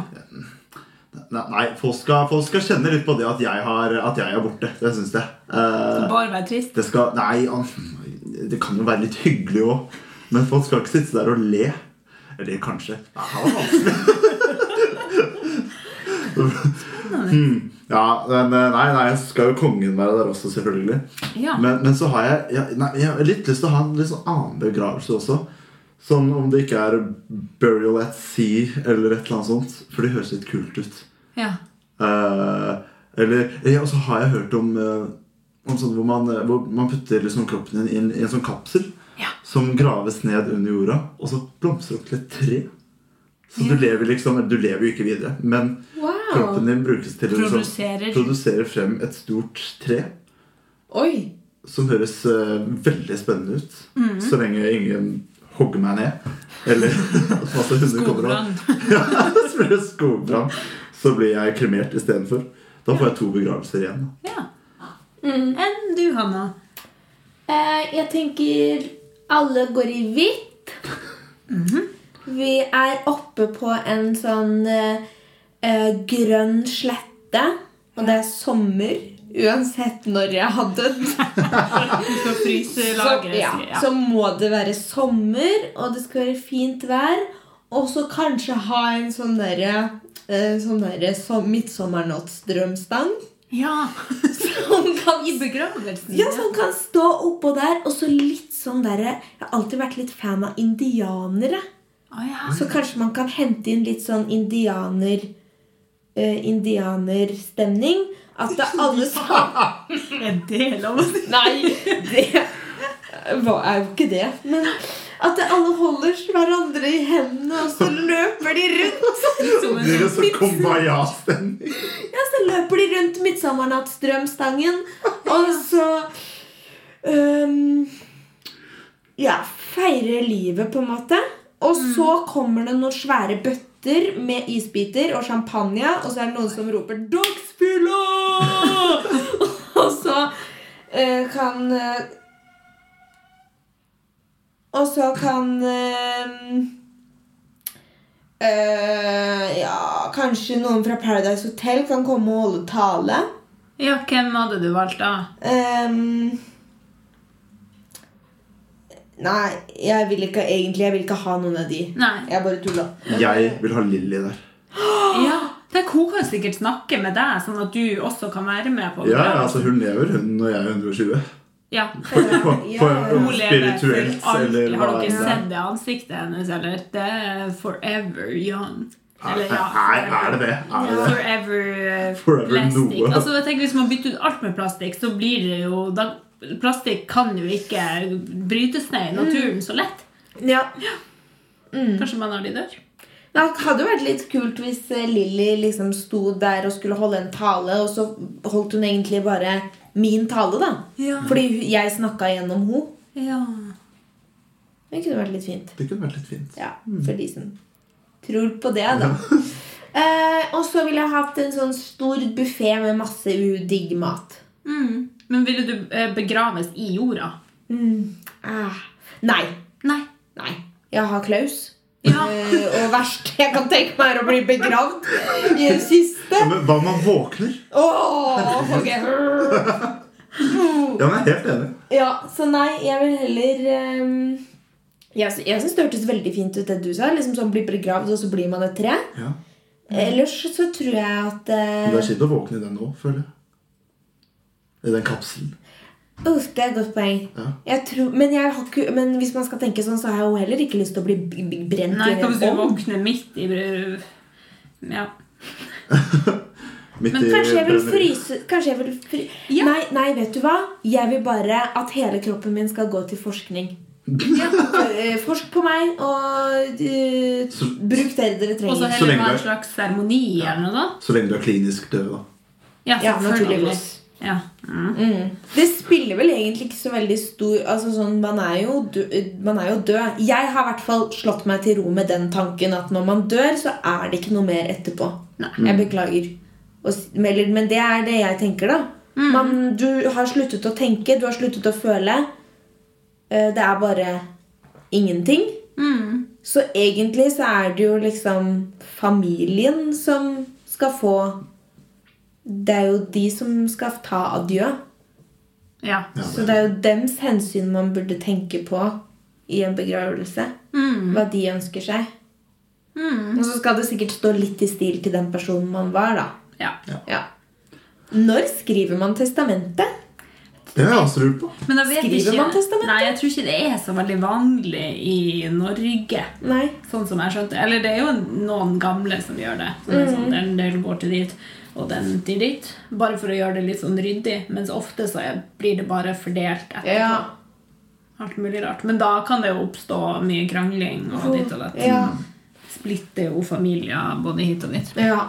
Speaker 4: Nei, nei folk, skal, folk skal kjenne litt på det at jeg, har, at jeg er borte. Det syns jeg. Eh,
Speaker 2: Bare være trist?
Speaker 4: det skal Nei, an- det kan jo være litt hyggelig òg. Men folk skal ikke sitte der og le. Eller kanskje. Nei, det var vanskelig. Hmm, Ja, men eh, nei, nei, så skal jo kongen være der også, selvfølgelig.
Speaker 2: Ja.
Speaker 4: Men, men så har jeg, jeg, nei, jeg har litt lyst til å ha en litt sånn annen begravelse også. Sånn om det ikke er burial at sea eller et eller annet sånt. For det høres litt kult ut.
Speaker 2: Ja.
Speaker 4: Eh, eller ja, Og så har jeg hørt om, eh, om sånn hvor man, eh, hvor man putter liksom kroppen din inn i en sånn kapsel
Speaker 2: Ja.
Speaker 4: som graves ned under jorda, og så blomstrer opp til et tre. Så du lever liksom eller Du lever jo ikke videre, men
Speaker 3: Wow.
Speaker 4: kroppen din brukes til å liksom
Speaker 2: Produserer.
Speaker 4: produsere frem et stort tre.
Speaker 3: Oi.
Speaker 4: Som høres eh, veldig spennende ut.
Speaker 2: Mhm.
Speaker 4: Så lenge ingen hogger meg ned. Eller at masse hunder kommer og
Speaker 2: Skogbrann.
Speaker 4: ja, spiller skogbrann, så blir jeg kremert istedenfor. Da får jeg to begravelser igjen. da.
Speaker 2: Ja.
Speaker 3: Mm.
Speaker 2: Enn du, Hanna?
Speaker 3: Eh, jeg tenker alle går i hvitt. Mhm. Vi er oppe på en sånn eh, eh, grønn slette, og det er sommer. Uansett når jeg har dødd,
Speaker 2: Skal fryse
Speaker 3: så,
Speaker 2: lagres
Speaker 3: ja,
Speaker 2: ja.
Speaker 3: så må det være sommer, og det skal være fint vær. Og så kanskje ha en sånn derre eh, sånn derre som- midtsommernattsdrømstang.
Speaker 2: Ja,
Speaker 3: Som kan
Speaker 2: i begravelsen.
Speaker 3: Ja, som kan stå oppå der, og så litt sånn derre Jeg har alltid vært litt fan av indianere.
Speaker 2: Å, ja.
Speaker 3: Så kanskje man kan hente inn litt sånn indianer eh, indianerstemning. At det er alle sammen
Speaker 2: Er det lov å si?
Speaker 3: Nei, det hva er jo ikke det. Men at det alle holder hverandre i hendene, og så løper de rundt.
Speaker 2: Som
Speaker 4: Det
Speaker 2: en
Speaker 4: blir en sånn kumbaya-stemning.
Speaker 3: Ja, så løper de rundt midtsommernattsdrømstangen, og så øhm, Ja, feirer livet, på en måte. Og så kommer det noen svære bøtter med isbiter og champagne, og så er det noen som roper 'Dagsfylla!' og så øh, kan øh, Og så kan øh, Eh, ja, kanskje noen fra Paradise Hotel kan komme og holde tale.
Speaker 2: Ja, hvem hadde du valgt da?
Speaker 3: Ehm, nei, jeg vil ikke egentlig Jeg vil ikke ha noen av de.
Speaker 2: Nei.
Speaker 3: Jeg bare tulla.
Speaker 4: Jeg vil ha Lilly der.
Speaker 2: Ja, Tenk, hun kan sikkert snakke med deg, sånn at du også kan være med på
Speaker 4: Ja, altså hun lever, hun, og jeg er 120.
Speaker 2: Ja.
Speaker 4: På, på,
Speaker 3: Ja,
Speaker 4: på,
Speaker 3: ja.
Speaker 2: Hun lever for
Speaker 4: spirituelt,
Speaker 2: alltid.
Speaker 4: eller hva
Speaker 2: Har
Speaker 4: det
Speaker 2: dere
Speaker 4: er.
Speaker 2: sett det ansiktet hennes, eller? Det er forever young.
Speaker 4: Er,
Speaker 2: Eller, ja,
Speaker 4: er, er det det? Er det det?
Speaker 2: Forever, eh,
Speaker 4: Forever
Speaker 2: plastic.
Speaker 4: noe.
Speaker 2: Altså, jeg tenker Hvis man bytter ut alt med plastikk, så blir det jo da, Plastikk kan jo ikke brytes ned i
Speaker 3: Mm.
Speaker 2: naturen så lett.
Speaker 3: Ja. Mm.
Speaker 2: Kanskje man har de dør?
Speaker 3: Det hadde jo vært litt kult hvis eh, Lilly liksom sto der og skulle holde en tale, og så holdt hun egentlig bare min tale, da.
Speaker 2: Ja.
Speaker 3: Fordi hu- jeg snakka gjennom henne.
Speaker 2: Ja.
Speaker 3: Det kunne vært litt fint.
Speaker 4: Det kunne vært litt fint.
Speaker 3: Ja, For de som tror på det, da. Eh, og så ville jeg hatt en sånn stor buffé med masse udigg mat.
Speaker 2: Mm. Men ville du eh, begraves i jorda?
Speaker 3: Ah. Nei.
Speaker 2: Nei.
Speaker 3: Nei. Jeg har klaus.
Speaker 2: Ja.
Speaker 3: Eh, og verst jeg kan tenke meg, er å bli begravd i en kiste.
Speaker 4: Men hva om man våkner?
Speaker 3: Åh, ok.
Speaker 4: Ja, men jeg er helt enig.
Speaker 3: Ja, så nei, jeg vil heller ehm, Jeg, sy- jeg syns det hørtes veldig fint ut, det du sa. Liksom sånn bli begravd, og så blir man et tre.
Speaker 4: Ja.
Speaker 3: Ellers så tror jeg at
Speaker 4: Men det er
Speaker 3: eh,
Speaker 4: kjipt å våkne i den nå, føler jeg. I den kapselen.
Speaker 3: Uff, det er et godt poeng.
Speaker 4: Ja.
Speaker 3: Jeg tror, men, jeg har ikke, men hvis man skal tenke sånn, så har jeg jo heller ikke lyst til å bli b- b- brent
Speaker 2: Nei,
Speaker 3: i
Speaker 2: hva hvis
Speaker 3: en
Speaker 2: du
Speaker 3: ovn.
Speaker 2: våkner midt i br- Ja.
Speaker 4: Midt
Speaker 2: Men
Speaker 4: i
Speaker 3: Kanskje jeg vil
Speaker 4: brenneriet.
Speaker 3: fryse Kanskje jeg vil fry...
Speaker 2: Ja.
Speaker 3: Nei, nei, vet du hva? Jeg vil bare at hele kroppen min skal gå til forskning. Eh, Forsk på meg, og eh,
Speaker 4: Så-
Speaker 3: bruk det dere
Speaker 2: Og så
Speaker 3: trenger.
Speaker 4: Så
Speaker 2: heller
Speaker 4: lenge
Speaker 2: ha en
Speaker 4: det-
Speaker 2: slags seremoni eller noe sånt.
Speaker 4: Så lenge du er klinisk død, da.
Speaker 2: Ja,
Speaker 3: Ja,
Speaker 2: selvfølgelig.
Speaker 3: naturligvis.
Speaker 2: Ja. Mm.
Speaker 3: Mm. Det spiller vel egentlig ikke så veldig stor Altså sånn, man er, jo død, man er jo død. Jeg har i hvert fall slått meg til ro med den tanken at når man dør, så er det ikke noe mer etterpå.
Speaker 2: Nei.
Speaker 3: Jeg beklager. Og s- Eller, men det er det jeg tenker, da.
Speaker 2: Mm.
Speaker 3: Man, du har sluttet å tenke, du har sluttet å føle. Eh, Det er bare ingenting.
Speaker 2: Mm.
Speaker 3: Så egentlig så er det jo liksom familien som skal få Det er jo de som skal ta adjø.
Speaker 2: Ja.
Speaker 4: Ja,
Speaker 3: Så det er jo dems hensyn man burde tenke på i en begravelse.
Speaker 2: Mm.
Speaker 3: Hva de ønsker seg.
Speaker 2: Mm.
Speaker 3: Og så skal det sikkert stå litt i stil til den personen man var, da.
Speaker 2: ja.
Speaker 3: Ja. Når skriver man testamentet?
Speaker 4: Det har jeg også lurt på.
Speaker 2: Men jeg vet
Speaker 3: Skriver
Speaker 2: ikke,
Speaker 3: man testamentet?
Speaker 2: Nei, jeg tror ikke det er så veldig vanlig i Norge.
Speaker 3: Nei.
Speaker 2: Sånn som jeg skjønte. Eller det er jo noen gamle som gjør det. Som er
Speaker 3: Mm.
Speaker 2: sånn, den del går til dit, og den til dit. Bare for å gjøre det litt sånn ryddig. Mens ofte så er, blir det bare fordelt etterpå.
Speaker 3: Ja.
Speaker 2: Alt mulig rart. Men da kan det jo oppstå mye krangling og ditt og datt.
Speaker 3: Mm. Ja.
Speaker 2: Splitter jo familier både hit og dit.
Speaker 3: ja.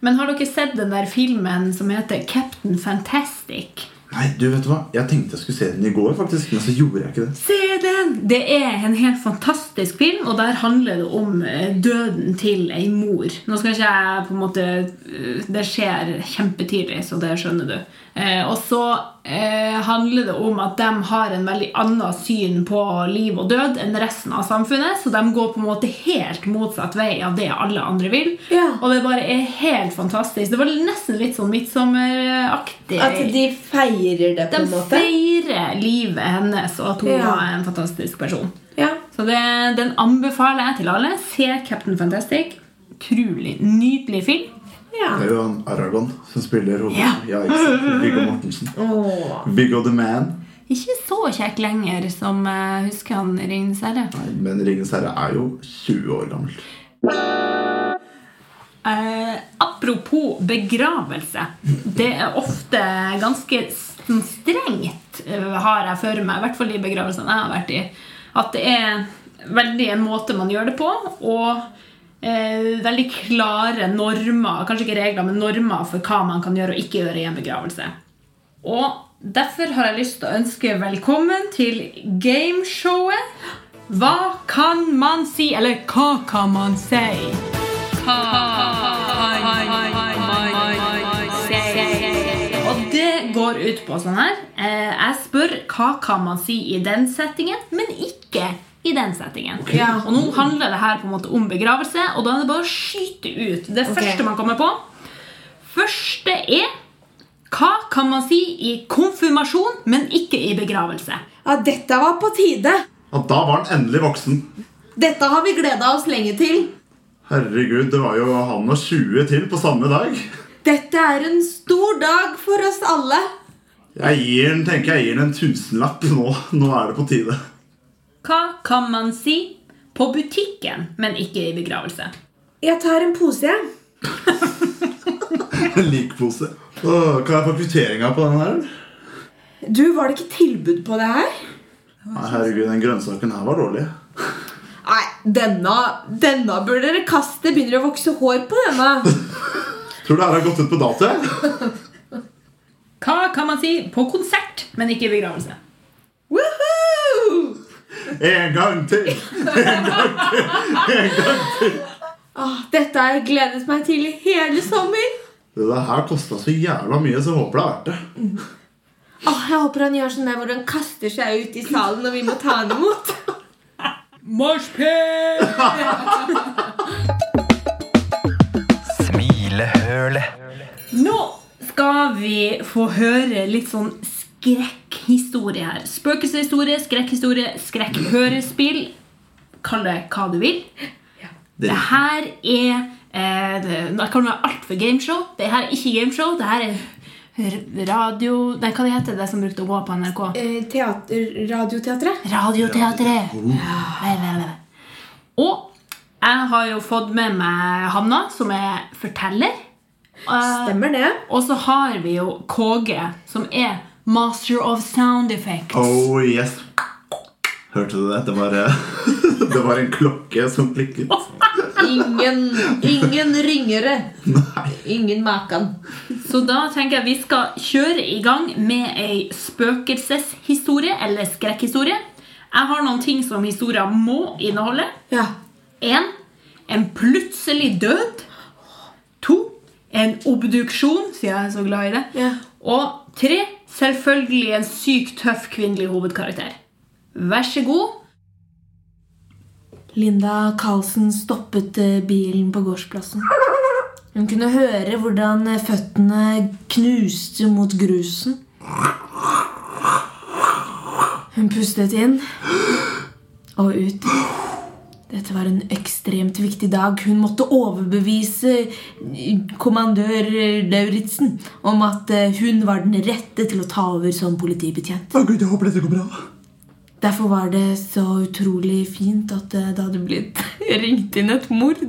Speaker 2: Men har dere sett den der filmen som heter Captain Fantastic?
Speaker 4: Nei, du vet du hva? Jeg tenkte jeg skulle se den i går, faktisk, men så gjorde jeg ikke det.
Speaker 2: Se den! Det er en helt fantastisk film, og der handler det om eh, døden til ei mor. Nå skal ikke jeg på en måte eh, Det skjer kjempetidlig, så det skjønner du. Eh, og så eh, handler det om at de har en veldig annet syn på liv og død enn resten av samfunnet, så de går på en måte helt motsatt vei av det alle andre vil.
Speaker 3: Ja.
Speaker 2: Og det bare er helt fantastisk. Det var nesten litt sånn midtsommeraktig.
Speaker 3: At de feirer det, på en
Speaker 2: De
Speaker 3: måte.
Speaker 2: feirer livet hennes og at hun
Speaker 3: Ja.
Speaker 2: var en fantastisk person.
Speaker 3: Ja.
Speaker 2: Så det, den anbefaler jeg til alle. Se Captain Fantastic. Utrolig nydelig film.
Speaker 3: ja.
Speaker 4: Det er jo han Aragon som spiller hodet.
Speaker 2: Ja.
Speaker 4: Ja, ikke sant? Viggo Mortensen.
Speaker 3: Åh.
Speaker 4: Viggo the Man.
Speaker 2: Ikke så kjekk lenger som jeg husker han Ringenes herre.
Speaker 4: Nei, men Ringens herre er jo 20 år gammel.
Speaker 2: Eh, apropos begravelse. Det er ofte ganske s- sånn strengt, eh, har jeg for meg, i hvert fall de begravelsene jeg har vært i, at det er veldig en måte man gjør det på, og eh, veldig klare normer, kanskje ikke regler, men normer for hva man kan gjøre og ikke gjøre i en begravelse. Og derfor har jeg lyst til å ønske velkommen til gameshowet Hva kan man si? Eller hva kan man si? Hva kan man si? Og det går ut på sånn her. Eh, Jeg spør hva kan man si i den settingen, men ikke i den settingen.
Speaker 3: Ja.
Speaker 2: Og nå handler det her på en måte om begravelse, og da er det bare å skyte ut det
Speaker 3: Ok.
Speaker 2: første man kommer på. Første er hva kan man si i konfirmasjon, men ikke i begravelse?
Speaker 3: ja, dette var på tide.
Speaker 4: Og da var han endelig voksen.
Speaker 3: Dette har vi gleda oss lenge til.
Speaker 4: Herregud, det var jo han og 20 til på samme dag.
Speaker 1: Dette er en stor dag for oss alle.
Speaker 4: Jeg gir den, tenker jeg gir den en tusenlapp nå. Nå er det på tide.
Speaker 2: Hva kan man si på butikken, men ikke i begravelse?
Speaker 1: Jeg tar en pose, jeg.
Speaker 4: Likpose. Åh, kan jeg få kvitteringa på den her?
Speaker 1: Du, var det ikke tilbud på det her?
Speaker 4: Nei, herregud, den grønnsaken her var dårlig.
Speaker 1: Nei, denne, denne burde dere kaste. Begynner å vokse hår på denne.
Speaker 4: Tror du det her har gått ut på dato?
Speaker 2: Hva kan man si på konsert, men ikke i begravelse?
Speaker 1: Woohoo!
Speaker 4: En gang til!
Speaker 1: Åh, dette har jeg gledet meg til i hele sommer.
Speaker 4: Det her kosta så jævla mye, så jeg håper det er verdt det.
Speaker 1: Åh, jeg håper han gjør sånn der hvor han kaster seg ut i salen når vi må ta han imot.
Speaker 2: Marshpit!
Speaker 6: Smilehølet.
Speaker 2: Nå skal vi få høre litt sånn skrekkhistorie her. Spøkelseshistorie, skrekkhistorie, skrekkhørespill. Kall det hva du vil. Det her er eh, det, Nå kan det være alt for gameshow. Det her er ikke gameshow. Det her er r- radio Nei, hva det heter det som brukte å gå på NRK?
Speaker 1: Eh, teater, radioteatret.
Speaker 2: Radioteatret. Ja, vel, vel, vel. Og jeg har jo fått med meg Hanna, som er forteller. Eh,
Speaker 1: Stemmer det?
Speaker 2: og så har vi jo KG, som er master of sound effects.
Speaker 4: Oh yes. Hørte du det? Det var, eh, det var en klokke som klikket.
Speaker 1: Ingen, ingen ringere.
Speaker 4: Nei.
Speaker 1: Ingen maken.
Speaker 2: Så da tenker jeg vi skal kjøre i gang med ei spøkelseshistorie, eller skrekkhistorie. Jeg har noen ting som historien må inneholde.
Speaker 1: Ja.
Speaker 2: 1. En plutselig død. 2. En obduksjon, siden jeg er så glad i det.
Speaker 1: Ja.
Speaker 2: Og 3. Selvfølgelig en sykt tøff kvinnelig hovedkarakter. Vær så god.
Speaker 1: Linda Carlsen stoppet eh, bilen på gårdsplassen. Hun kunne høre hvordan eh, føttene knuste mot grusen. Hun pustet inn og ut. Dette var en ekstremt viktig dag. Hun måtte overbevise eh, kommandør eh, Lauritzen om at eh, hun var den rette til å ta over som politibetjent.
Speaker 4: Å gud, jeg håper dette går bra.
Speaker 1: Derfor var det så utrolig fint at eh, det hadde blitt ringt inn et mord.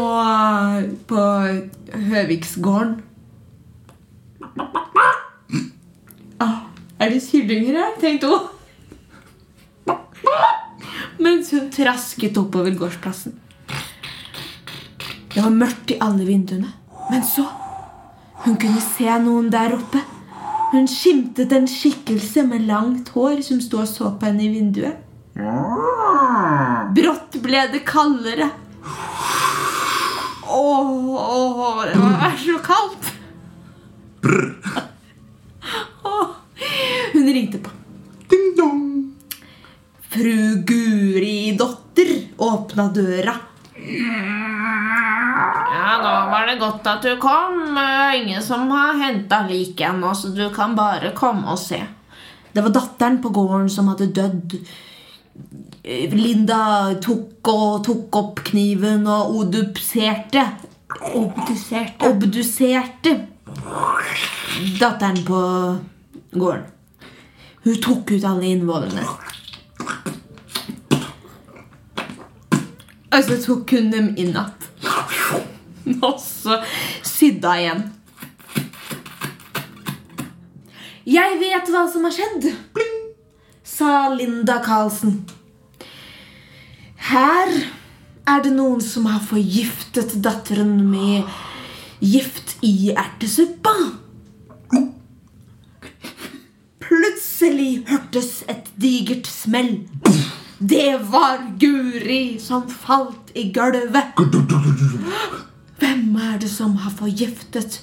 Speaker 1: Og eh, på Høviksgården. Ah, er det kyllinger her? tenkte hun. Mens hun trasket oppover gårdsplassen. Det var mørkt i alle vinduene. Men så Hun kunne se noen der oppe. Hun skimtet en skikkelse med langt hår som sto og så på henne i vinduet. Brått ble det kaldere. Åh, åh, åh, det var så kaldt. Åh. Hun ringte på. Fru Guri dotter åpna døra. Ja, nå var det godt at du kom. Eh, Ingen som har henta liket ennå, så du kan bare komme og se. Det var datteren på gården som hadde dødd. Eh, Linda tok, og, tok opp kniven og odupserte. Obduserte. Obduserte datteren på gården. Hun tok ut alle innvollene. Og så tok hun dem inn igjen. Og så sydda igjen. Jeg vet hva som har skjedd, Pling! sa Linda Carlsen. Her er det noen som har forgiftet datteren med gift i ertesuppa. Plutselig hørtes et digert smell. Det var Guri som falt i gulvet. Hvem er det som har forgiftet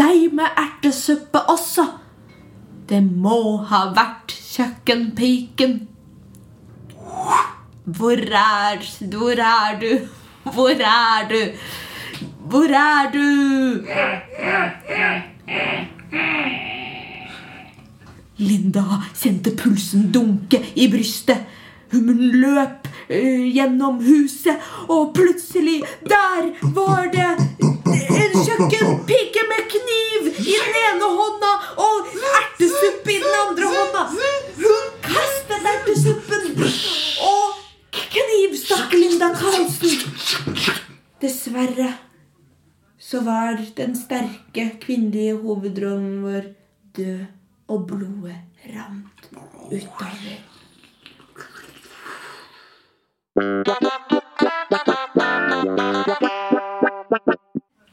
Speaker 1: deg med ertesuppe også? Det må ha vært kjøkkenpiken. Hvor er Hvor er du? Hvor er du? Hvor er du? Linda kjente pulsen dunke i brystet. Hun løp
Speaker 3: eh, gjennom huset, og plutselig, der var det en kjøkkenpike med kniv i den ene hånda og ertesuppe i den andre hånda. Hun kastet ertesuppen og knivstakk Linda Carlsen. Dessverre så var den sterke kvinnelige hovedrollen vår død, og blodet rant utover.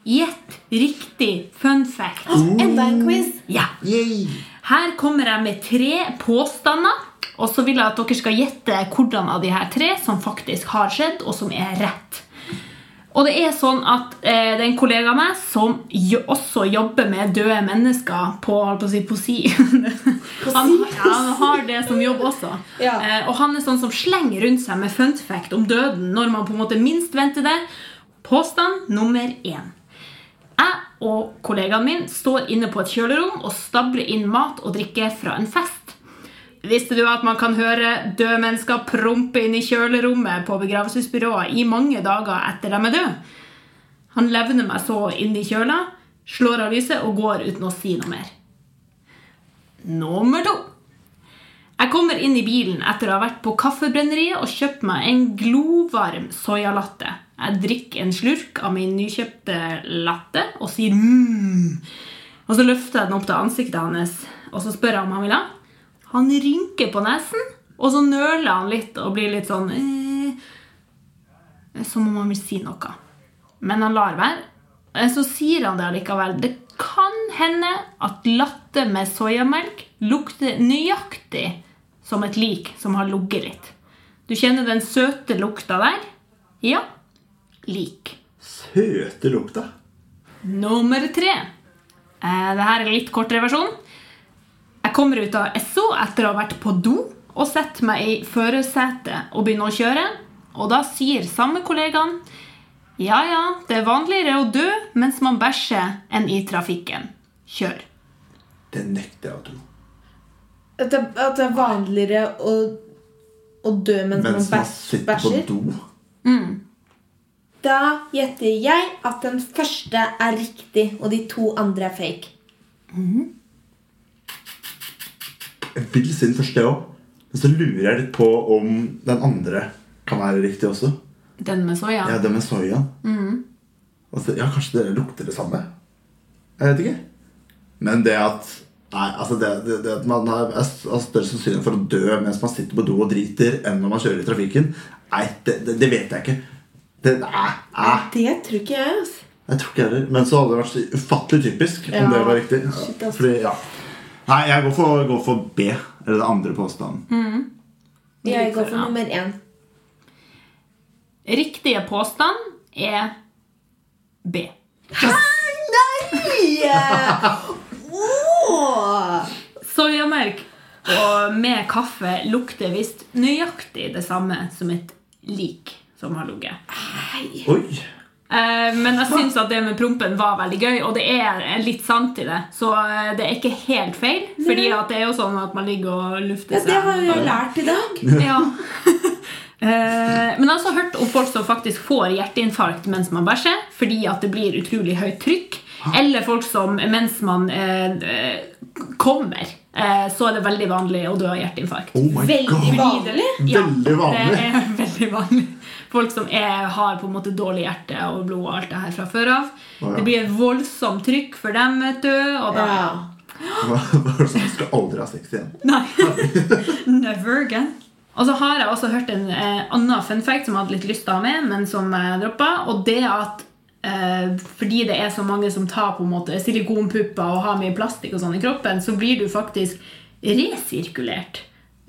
Speaker 2: Gjett riktig fun fact.
Speaker 3: Enda en quiz.
Speaker 2: Ja.
Speaker 4: Yay.
Speaker 2: Her kommer jeg med tre påstander, og så vil jeg at dere skal gjette hvordan av de her tre som faktisk har skjedd, og som er rett. Og det er sånn at eh, det er en kollega av meg som jo, også jobber med døde mennesker på holdt på å si, på si. Han, ja, han har det som jobb også.
Speaker 3: Ja.
Speaker 2: Eh, og han er sånn som slenger rundt seg med fun fact om døden når man på en måte minst venter det. Påstand nummer én. Jeg og kollegaen min står inne på et kjølerom og stabler inn mat og drikke fra en fest. Visste du at man kan høre døde mennesker prompe inn i kjølerommet på begravelsesbyrået i mange dager etter de er døde? Han levner meg så inn i kjøla, slår av lyset og går uten å si noe mer. Nummer to. Jeg kommer inn i bilen etter å ha vært på kaffebrenneriet og kjøpt meg en glovarm soyalatte. Jeg drikker en slurk av min nykjøpte latte og sier mm. Og så løfter jeg den opp til ansiktet hans og så spør jeg om han vil ha. Han rynker på nesen, og så nøler han litt og blir litt sånn eh, Som om han vil si noe. Men han lar være. Eh, Så sier han det allikevel. Det kan hende at latte med soyamelk lukter nøyaktig som et lik som har ligget litt. Du kjenner den søte lukta der? Ja. Lik.
Speaker 4: Søte lukta.
Speaker 2: Nummer tre. Eh, det her er litt kortere versjon. Jeg kommer ut av Esso etter å ha vært på do og setter meg i førersetet og begynner å kjøre. Og da sier samme kollegaen ja ja, det er vanligere å dø mens man bæsjer enn i trafikken. Kjør.
Speaker 4: Det nekter jeg å tro.
Speaker 3: At det, at det er vanligere å, å dø mens,
Speaker 4: Mens
Speaker 3: man
Speaker 4: man
Speaker 3: bæs-
Speaker 4: sitter på
Speaker 3: bæsjer.
Speaker 4: do.
Speaker 3: Da gjetter jeg at den første er riktig, og de to andre er fake.
Speaker 4: Jeg vil si den første òg, men så lurer jeg litt på om den andre kan være riktig også.
Speaker 2: Den med soya.
Speaker 4: Ja, det med soyaen. Altså, ja, kanskje det lukter det samme. Jeg vet ikke. Men det at Nei, altså det, det, det at man har er s- har større sannsynlighet for å dø mens man sitter på do og driter, enn når man kjører i trafikken, nei, det, det, det vet jeg ikke. Det, nei, nei,
Speaker 3: Det tror ikke jeg. ass.
Speaker 4: jeg tror ikke jeg heller. Men så hadde det vært så ufattelig typisk om
Speaker 3: Ja,
Speaker 4: det var riktig.
Speaker 3: shit, ass.
Speaker 4: Fordi, ja. Nei, jeg går for, går for B, eller den andre påstanden.
Speaker 3: Jeg går for
Speaker 2: Ja.
Speaker 3: nummer én.
Speaker 2: Riktige påstand er B.
Speaker 3: Yeah. Åh!
Speaker 2: Soyamelk og med kaffe lukter visst nøyaktig det samme som et lik som har ligget.
Speaker 4: Oi!
Speaker 2: Eh, Men jeg syns at det med prompen var veldig gøy, og det er eh, litt sant i det. Så eh, det er ikke helt feil, Fordi at det er jo sånn at man ligger og lufter
Speaker 3: Ja,
Speaker 2: seg.
Speaker 3: det har jeg lært i dag.
Speaker 2: Ja. Eh, Men jeg har også hørt om folk som faktisk får hjerteinfarkt mens man bæsjer, fordi at det blir utrolig høyt trykk. Eller folk som mens man eh, eh, kommer, eh, så er det veldig vanlig å dø av hjerteinfarkt.
Speaker 4: Oh my
Speaker 3: Veldig
Speaker 4: god!
Speaker 3: vanlig.
Speaker 2: Ja,
Speaker 4: Veldig vanlig.
Speaker 2: Det er veldig vanlig. Folk som er, har på en måte dårlig hjerte og blod og alt det her fra før av.
Speaker 4: Å, ja.
Speaker 2: Det blir et voldsomt trykk for dem, vet du. Og da,
Speaker 3: Ja.
Speaker 4: Hva, hva er det som jeg skal aldri ha sex igjen?
Speaker 2: Nei. Never again. Og så har jeg også hørt en eh, annen fun fact som jeg hadde litt lyst til å ha med, men som jeg droppa. Og det at eh, fordi det er så mange som tar på en måte silikonpupper og har mye plastikk og sånn i kroppen, så blir du faktisk resirkulert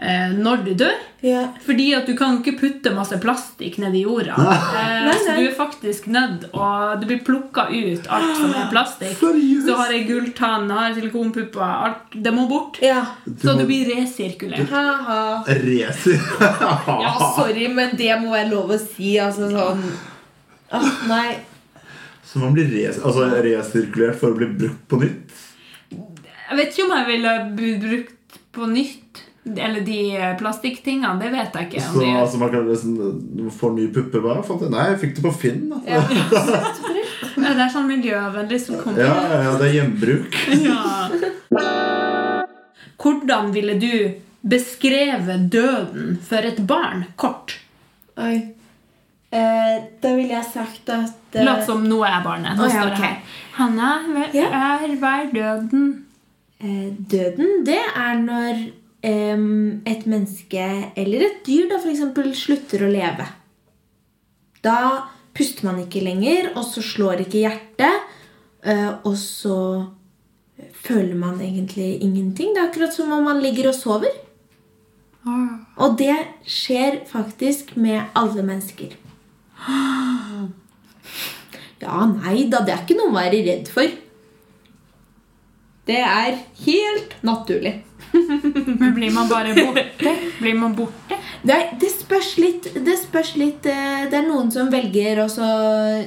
Speaker 2: eh, når du dør.
Speaker 3: Ja.
Speaker 2: Fordi at du kan ikke putte masse plastikk ned i jorda. Eh, så du er faktisk nødt og du blir plukka ut alt som er plastikk.
Speaker 4: Seriøst?
Speaker 2: Så har jeg gulltann, har silikonpupper alt, Det må bort.
Speaker 3: ja.
Speaker 2: Så du blir resirkulert.
Speaker 3: Ha-ha.
Speaker 4: Racer.
Speaker 3: Ja, Ah. sorry, men det må være lov å si. Altså sånn Åh, Nei.
Speaker 4: Så man blir res altså, resirkulert for å bli brukt på nytt?
Speaker 2: Jeg vet ikke om jeg ville bli brukt på nytt. Eller de eh, plastikktingene, det vet jeg ikke. om
Speaker 4: Så
Speaker 2: de-
Speaker 4: altså, man kan liksom få nye pupper bare. Fant det. Nei, jeg fikk det på Finn. da. Ja,
Speaker 2: Ja, det er sånn miljøvennlig som kommer.
Speaker 4: ja, ja, det er gjenbruk.
Speaker 2: Ja. Hvordan ville du beskrevet døden for et barn? Kort.
Speaker 3: Oi. Eh, da ville jeg sagt at eh,
Speaker 2: Lat som nå er barnet. Nå
Speaker 3: Å, ja,
Speaker 2: står det
Speaker 3: ok.
Speaker 2: her. Hanna, hva
Speaker 3: Ja.
Speaker 2: er, hva er døden?
Speaker 3: eh, Døden, det er når em, et menneske eller et dyr da for eksempel slutter å leve. Da puster man ikke lenger, og så slår ikke hjertet, eh, og så føler man egentlig ingenting. Det er akkurat som om man ligger og sover. Og det skjer faktisk med alle mennesker. Ja, nei da, det er ikke noe å være redd for. Det er helt naturlig.
Speaker 2: Men blir man bare borte? Blir man borte?
Speaker 3: Det, er, det spørs litt Det spørs litt eh, Det er noen som velger også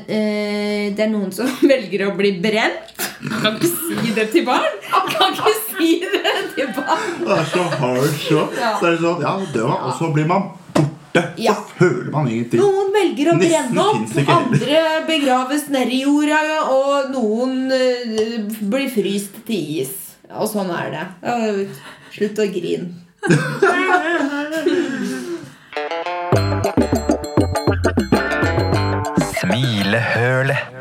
Speaker 3: eh, Det er noen som velger å bli brent. Kan ikke si det til barn! Kan ikke si det til barn!
Speaker 4: Det er så hard show.
Speaker 3: Ja.
Speaker 4: Så er det sånn, ja, det var, og så blir man borte.
Speaker 3: Ja.
Speaker 4: Så føler man ingenting.
Speaker 3: Noen velger å
Speaker 4: Nesten
Speaker 3: brenne opp,
Speaker 4: finnes det ikke heller.
Speaker 3: andre begraves nedi jorda, og noen eh, blir fryst til is. Og sånn er det. Eh, Slutt å grine.
Speaker 6: Smilehølet.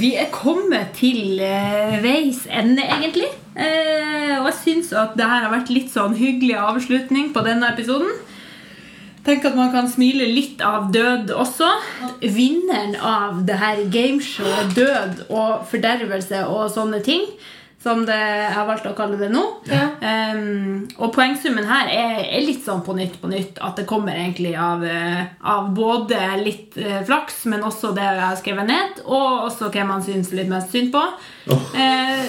Speaker 2: Vi er kommet til eh, veis ende, egentlig. Eh, og jeg syns at det her har vært litt sånn hyggelig avslutning på denne episoden. Tenk at man kan smile litt av død også. Vinneren av det her gameshowet Død og fordervelse og sånne ting, som det, jeg har valgt å kalle det nå. Ehm, og poengsummen her er, er litt sånn på nytt på nytt. At det kommer egentlig av, eh, av både litt eh, flaks, men også det jeg har skrevet ned, og også hvem man syns litt mest synd på. Eh,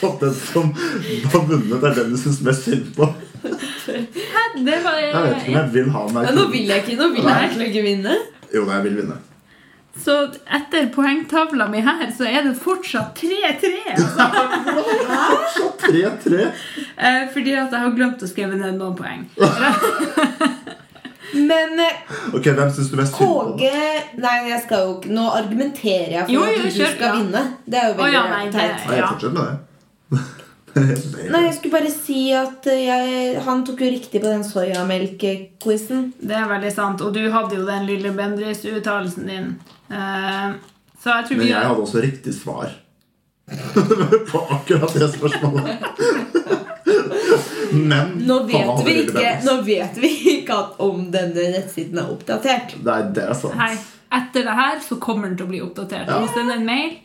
Speaker 4: Så den som har vunnet, er den du syns mest synd på.
Speaker 2: det var
Speaker 4: Jeg vet ikke om jeg vil ha meg
Speaker 3: Ja, nå vil jeg ikke, nå vil jeg egentlig ikke vinne.
Speaker 4: Jo, nei, jeg vil vinne.
Speaker 2: Så etter poengtavla mi her, så er det fortsatt 3-3. Altså.
Speaker 4: Så 3-3.
Speaker 2: Eh, fordi at jeg har glemt å skrive ned noen poeng.
Speaker 3: Men eh,
Speaker 4: Ok, hvem syns du mest synd på?
Speaker 3: KG Nei, jeg skal jo ikke Nå argumenterer jeg for
Speaker 2: Jo, jo,
Speaker 3: at du
Speaker 2: kjør,
Speaker 3: skal
Speaker 2: ja.
Speaker 3: vinne. Det er jo veldig
Speaker 2: Å, ja, nei, det-
Speaker 3: teit.
Speaker 4: Nei, jeg
Speaker 2: Ja.
Speaker 4: fortsetter med det. Det er
Speaker 3: Nei, jeg skulle bare si at eh, jeg, han tok jo riktig på den soyamelk-quizen.
Speaker 2: Det er veldig sant. Og du hadde jo den lille Bendris-uttalelsen din. Eh, så jeg tror
Speaker 4: Men
Speaker 2: vi
Speaker 4: jeg hadde også riktig svar på akkurat det spørsmålet. Men
Speaker 3: Nå
Speaker 4: faen,
Speaker 3: vet,
Speaker 4: hadde
Speaker 3: vi
Speaker 4: det
Speaker 3: ikke,
Speaker 4: bedre.
Speaker 3: nå vet vi ikke at om denne nettsiden er oppdatert.
Speaker 4: Nei, det er sant.
Speaker 2: Hei. Etter det her så kommer den til å bli oppdatert. Hvis den er en mail,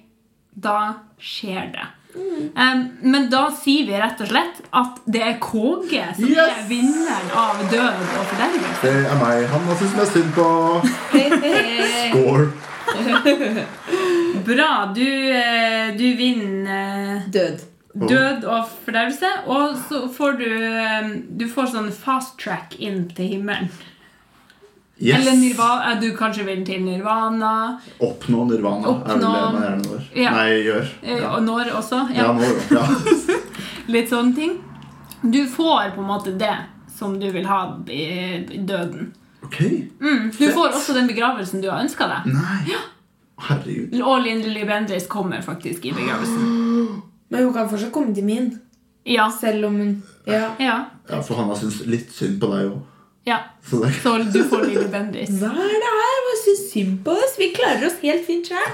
Speaker 2: da skjer det. Um, men da sier vi rett og slett at det er KG som er
Speaker 4: Yes!
Speaker 2: vinneren av død og fordervelse.
Speaker 4: Det er meg. Han har syntes mest synd på Score.
Speaker 2: Bra. Du, eh, du vinner eh,
Speaker 3: Død.
Speaker 2: død og fordervelse. Og så får du eh, Du får sånn fast track inn til himmelen.
Speaker 4: Yes.
Speaker 2: Eller nirvana, eh, du kanskje vil til nirvana.
Speaker 4: Oppnå nirvana er vel
Speaker 2: Oppnå-
Speaker 4: det man gjerne når.
Speaker 2: Ja.
Speaker 4: Nei, gjør.
Speaker 2: eh,
Speaker 4: Ja,
Speaker 2: Og når også.
Speaker 4: ja når. Ja.
Speaker 2: Litt sånne ting. Du får på en måte det som du vil ha i i døden.
Speaker 4: Ok.
Speaker 2: Mm. Du får også den begravelsen du har ønska deg.
Speaker 4: Nei. Herregud.
Speaker 2: Og Lindley Bendriss kommer faktisk i begravelsen.
Speaker 3: Men hun kan fortsatt komme til min.
Speaker 2: Ja.
Speaker 3: Selv om hun Ja.
Speaker 2: Ja.
Speaker 4: Ja, for han har syntes litt synd på deg òg.
Speaker 2: ja.
Speaker 4: Så det
Speaker 2: Så du får Lille Bendriss.
Speaker 3: Hva er det her? Hva syns synd på oss? Vi klarer oss helt fint sjøl.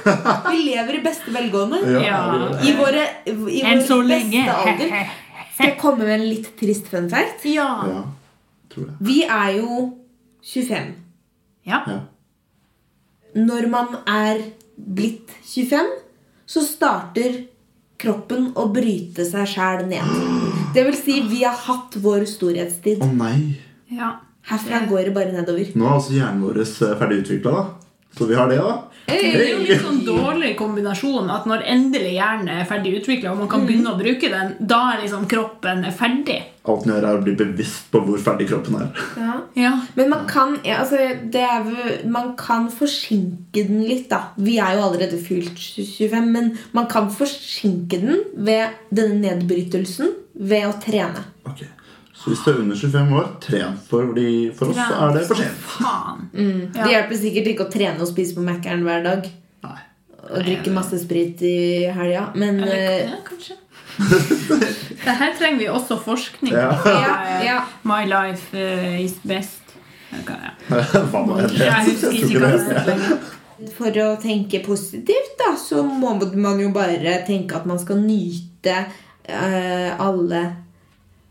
Speaker 3: Vi lever i beste velgående.
Speaker 4: ja,
Speaker 2: Ja.
Speaker 4: herregud.
Speaker 3: I våre, i
Speaker 2: Enn så
Speaker 3: vår
Speaker 2: lenge.
Speaker 3: beste alder. Skal jeg komme med en litt trist fun fact?
Speaker 2: Ja.
Speaker 4: ja. Tror jeg.
Speaker 3: Vi er jo 25.
Speaker 2: ja.
Speaker 4: Ja.
Speaker 3: Når man er blitt 25, så starter kroppen å bryte seg sjæl ned. Det vil si, vi har hatt vår storhetstid.
Speaker 4: Å nei.
Speaker 2: ja.
Speaker 3: Herfra går det bare nedover.
Speaker 4: Nå er altså hjernen vår eh, ferdig utvikla, da. Så vi har det, da.
Speaker 2: Det er jo litt sånn dårlig kombinasjon at når endelig hjernen er ferdig utvikla, og man kan begynne å bruke den, da er liksom kroppen er ferdig.
Speaker 4: Alt man gjør, er å bli bevisst på hvor ferdig kroppen er.
Speaker 3: Ja.
Speaker 2: Ja.
Speaker 3: Men man kan, ja, altså, det er, jo- man kan forsinke den litt, da. Vi er jo allerede fylt 25, men man kan forsinke den ved denne nedbrytelsen ved å trene.
Speaker 4: Ok. Så hvis du er under 25 år, tren. Fordi for oss så er det for sent.
Speaker 2: Faen.
Speaker 1: Ja.
Speaker 3: Det hjelper sikkert ikke å trene og spise på Mækkern hver dag.
Speaker 4: Nei.
Speaker 3: Og drikke masse sprit i helga. Men
Speaker 2: Eller,
Speaker 3: eh,
Speaker 2: ja, kanskje. det her trenger vi også forskning
Speaker 4: Ja.
Speaker 2: på.
Speaker 3: Ja, ja.
Speaker 2: My life eh, is best. Eller hva, ja.
Speaker 4: Hva nå enn det
Speaker 2: Jeg husker
Speaker 4: Jeg tror
Speaker 2: ikke
Speaker 4: ikke
Speaker 2: hva
Speaker 4: det
Speaker 2: det
Speaker 4: heter.
Speaker 3: for å tenke positivt, da, så må man jo bare tenke at man skal nyte eh, alle,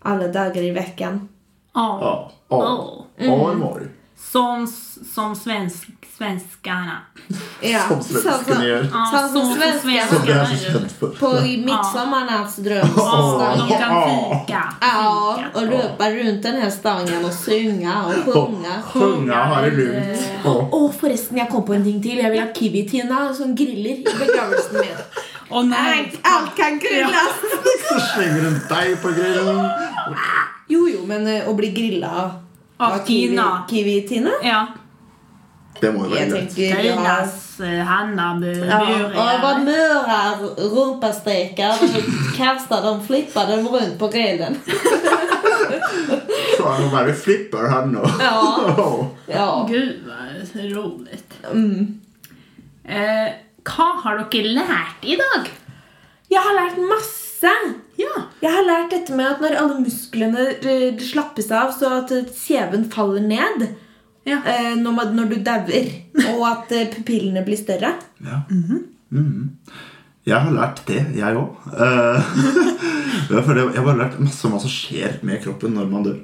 Speaker 3: alle dager i vekken.
Speaker 2: Åh.
Speaker 4: Ja. År.
Speaker 2: Åh.
Speaker 4: År må du.
Speaker 2: Som, som svensk, svenskene.
Speaker 3: Ja,
Speaker 4: Sånn Som svenskene gjør.
Speaker 2: Ah,
Speaker 3: Sånn som
Speaker 2: som
Speaker 3: svenskene.
Speaker 4: Som
Speaker 2: svenskene
Speaker 4: vi er så
Speaker 2: gjør.
Speaker 4: kjent for.
Speaker 3: På altså, midtsommeren är alltså
Speaker 2: Åh, de
Speaker 3: drömstagen.
Speaker 2: kan
Speaker 4: Åh.
Speaker 2: fika.
Speaker 3: Ja,
Speaker 2: fika.
Speaker 3: och löpa runt den här stången och synga och sjunga.
Speaker 4: Tunga har det lurt. Åh.
Speaker 3: Åh forresten, jeg kom på en ting til. Jeg vil ha Kiwi-Tina som griller i begravelsen min.
Speaker 2: Å nei!
Speaker 3: Alt kan grilles!
Speaker 4: Så slenger hun deg på grillen.
Speaker 3: Jo, jo, men eh, å bli grilla av- av
Speaker 2: Av Tina.
Speaker 3: Kiwi- Kiwi-Tina?
Speaker 2: Ja.
Speaker 4: Det må jo være
Speaker 3: Jeg
Speaker 4: greit.
Speaker 3: tenker ja.
Speaker 2: Tinas eh, henne
Speaker 3: Ja,
Speaker 2: burer
Speaker 3: og vad mörar rumpastrekar kastar dem, flippar dem runt på grillen.
Speaker 4: Så er hun bare flipper her nå.
Speaker 3: Ja.
Speaker 4: Åh.
Speaker 3: Ja.
Speaker 2: Gud, vad roligt.
Speaker 3: Mm.
Speaker 2: Eh, hva har dere lært i dag?
Speaker 3: Jeg har lært masse!
Speaker 2: Ja.
Speaker 3: Jeg har lært dette med at når alle musklene eh, slappes av, så at eh, kjeven faller ned
Speaker 2: Ja.
Speaker 3: eh, når, man, når du dauer, og at eh, pupillene blir større.
Speaker 4: Ja. Mhm. Jeg har lært det, jeg Eh, òg. jeg føler jeg- jeg har bare lært masse om hva som skjer med kroppen når man dør.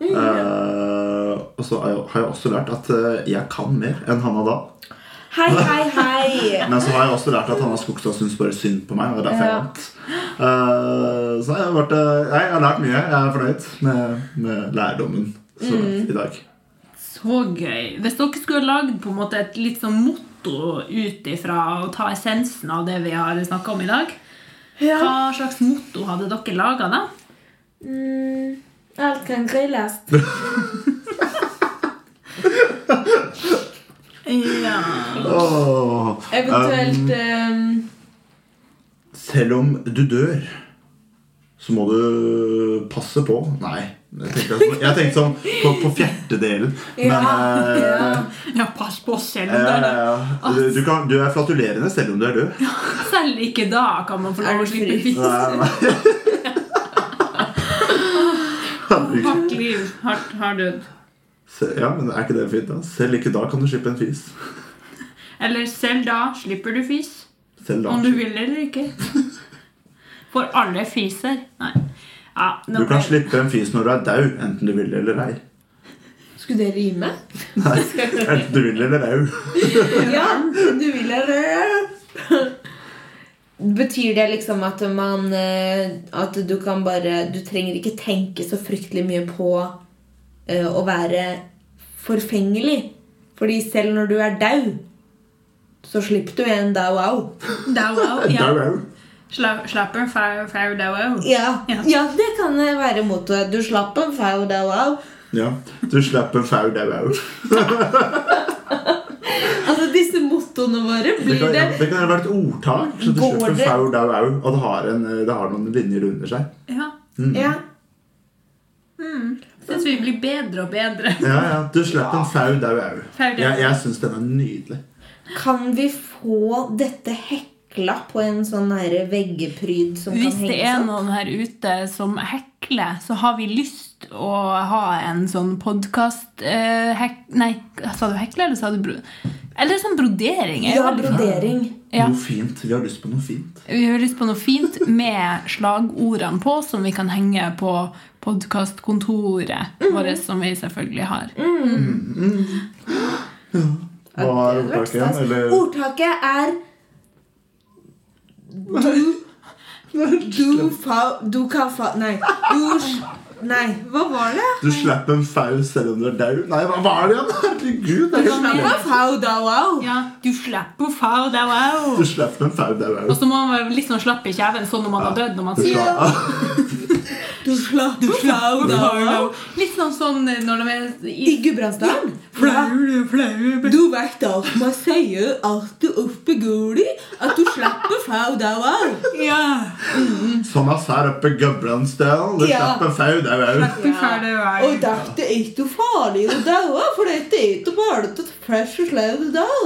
Speaker 4: Eh, og så har jeg- har jeg også lært at eh, jeg kan mer enn Hanna da.
Speaker 3: Hei, hei, hei!
Speaker 4: Men så har jeg også lært at Hanna Skogstad syns bare synd på meg. Og det er derfor jeg
Speaker 3: Ja.
Speaker 4: vant. Eh, så jeg har, vært, eh, jeg har lært mye. Jeg er fornøyd med, med lærdommen så langt i dag.
Speaker 2: Så gøy. Hvis dere skulle lagd på en måte et litt sånn motto ut ifra å ta essensen av det vi har snakka om i dag,
Speaker 3: Ja.
Speaker 2: hva slags motto hadde dere laga da?
Speaker 3: Mm, alt kan grilles.
Speaker 2: Ja.
Speaker 4: Åh.
Speaker 3: Eventuelt ehm,
Speaker 4: Selv om du dør, så må du passe på. Nei. Jeg tenkte, sånn- jeg tenkte sånn på, på fjertedelen. Men
Speaker 3: Ja,
Speaker 4: eh,
Speaker 2: ja, pass på oss selv. om det er det.
Speaker 4: eh, du, du, kan, du er flatulerende selv om du er død.
Speaker 2: Selv ikke da kan man få
Speaker 3: Er
Speaker 2: lov å
Speaker 3: du
Speaker 2: slippe
Speaker 3: fri?
Speaker 2: fisk.
Speaker 4: eh, Nei, nei. Herregud.
Speaker 2: Hardt liv, hardt, hard død.
Speaker 4: Se- Ja, men Er ikke det fint, da? Selv ikke da kan du slippe en fis.
Speaker 2: Eller selv da slipper du fis.
Speaker 4: Selv da.
Speaker 2: Om du vil eller ikke. For alle fiser. Nei. Ja, nå
Speaker 4: Du
Speaker 2: ble-
Speaker 4: kan slippe en fis når du er daud, enten du vil eller ei.
Speaker 3: eh, Skulle det rime?
Speaker 4: Nei, Enten du vil eller au.
Speaker 3: Ja, du vil det. Betyr det liksom at man eh, At du kan bare Du trenger ikke tenke så fryktelig mye på eh, å være forfengelig. Fordi selv når du er dau, så slipper du en dau au.
Speaker 2: Dau, au, ja.
Speaker 4: Dau au.
Speaker 2: Sla- Slapper, fire, fire, dau, au.
Speaker 3: Ja.
Speaker 2: Ja.
Speaker 3: ja, det kan være mottoet. Du slapp en fau dau au.
Speaker 4: Ja. Du slipper en fau dau au.
Speaker 3: Altså, disse mottoene våre
Speaker 4: Det
Speaker 3: blir
Speaker 4: kan,
Speaker 3: det
Speaker 4: ja, det kan være et ordtak. Så du
Speaker 3: Går
Speaker 4: slipper
Speaker 3: det-
Speaker 4: fau dau au, og det har, en, eh, det har noen linjer under seg.
Speaker 2: Ja.
Speaker 4: mm.
Speaker 3: Ja.
Speaker 2: Syns vi blir bedre og bedre.
Speaker 4: Ja, ja, Du slipper en fau dau au.
Speaker 2: Fau, dau.
Speaker 4: Jeg, jeg syns den er nydelig.
Speaker 3: Kan vi få dette hekla på en sånn her veggepryd som
Speaker 1: Hvis
Speaker 3: kan
Speaker 1: det
Speaker 3: henges
Speaker 1: er
Speaker 3: opp?
Speaker 1: noen her ute som hekler, så har vi lyst å ha en sånn podkast eh, hek, Nei, sa du hekle, eller sa du bro... Eller sånn brodering. er jo
Speaker 3: Ja,
Speaker 1: veldig fint.
Speaker 3: brodering.
Speaker 1: Ja.
Speaker 4: Noe fint. Vi har lyst på noe fint.
Speaker 1: Vi har lyst på noe fint med slagordene på, som vi kan henge på podkastkontoret
Speaker 2: Mhm.
Speaker 1: vårt, som vi selvfølgelig har.
Speaker 4: Hva er
Speaker 3: Det hadde vært
Speaker 4: ordtaket igjen?
Speaker 3: stas.
Speaker 4: Eller
Speaker 3: Ordtaket er Du fa... Du kan fa... Nei. Du s- Nei, hva var det?
Speaker 4: du slipper en fau selv om du er dau? Nei, hva hva er det igjen? Herregud! det er helt
Speaker 3: Du
Speaker 4: nydelig.
Speaker 3: kan fa da wow.
Speaker 2: Ja, du slipper, fire, dau, au.
Speaker 4: Du slipper en fau dau au.
Speaker 2: Og så må man være litt sånn slapp i kjeven, sånn når man har dødd. når man
Speaker 4: Du
Speaker 2: sier
Speaker 4: sla-
Speaker 1: Du flau, du flau, da.
Speaker 2: Litt sånn sånn eh, når de er i
Speaker 1: I Gudbrandsdalen.
Speaker 2: Flaue, flaue
Speaker 1: Du veit alt man sier alltid oppe guli, at du slipper flau dauer.
Speaker 2: Ja.
Speaker 4: Som jeg ser oppe i Gudbrandsdalen, du
Speaker 1: Ja.
Speaker 4: slipper fau der òg.
Speaker 2: Fy faen, det var-
Speaker 1: Og dette er ikke farlig å daue, for dette er ikke bare til fresh og slau dau.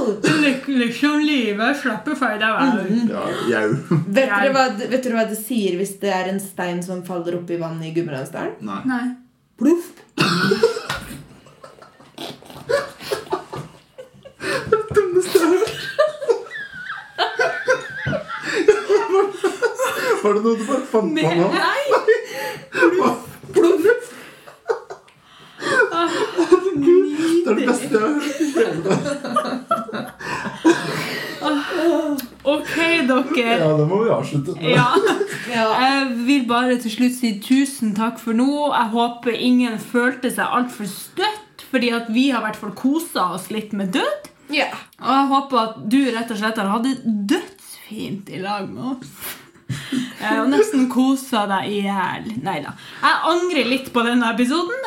Speaker 2: Lik- Liksom livet slapper for deg hver.
Speaker 4: Ja, jau.
Speaker 1: Vet dere, hva, vet dere hva det sier hvis det er en stein som faller oppi vannet i Gudbrandsdalen?
Speaker 4: Nei.
Speaker 2: Nei.
Speaker 1: Pluff.
Speaker 4: Var det noe du bare fant på nå? Pluff.
Speaker 1: Ah.
Speaker 4: Herregud, det er det beste jeg har hørt.
Speaker 2: Ok, dere.
Speaker 4: Ja, det må vi avslutte med.
Speaker 2: Ja.
Speaker 1: Ja.
Speaker 2: Jeg vil bare til slutt si tusen takk for nå. Jeg håper ingen følte seg altfor støtt, fordi at vi har i hvert fall kosa oss litt med død.
Speaker 1: ja.
Speaker 2: Og jeg håper at du rett og slett har hatt det dødsfint i lag med oss. Eh, Og nesten kosa deg i hjel. Nei da. Jeg angrer litt på denne episoden.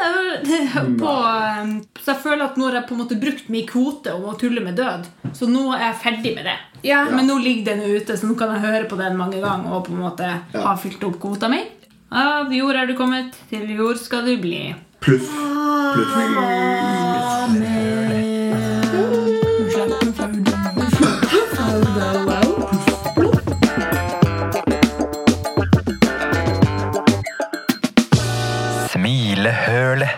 Speaker 2: Jeg- På, eh, så jeg føler at nå har jeg på en måte brukt min kvote om å tulle med død. Så nå er jeg ferdig med det.
Speaker 1: Ja.
Speaker 2: Men nå ligger den ute, så nå kan jeg høre på den mange ganger og på en måte ha fylt opp kvota mi. Av jord er du kommet, til jord skal du bli.
Speaker 4: Pluff. Pluff.
Speaker 6: Smilehølet.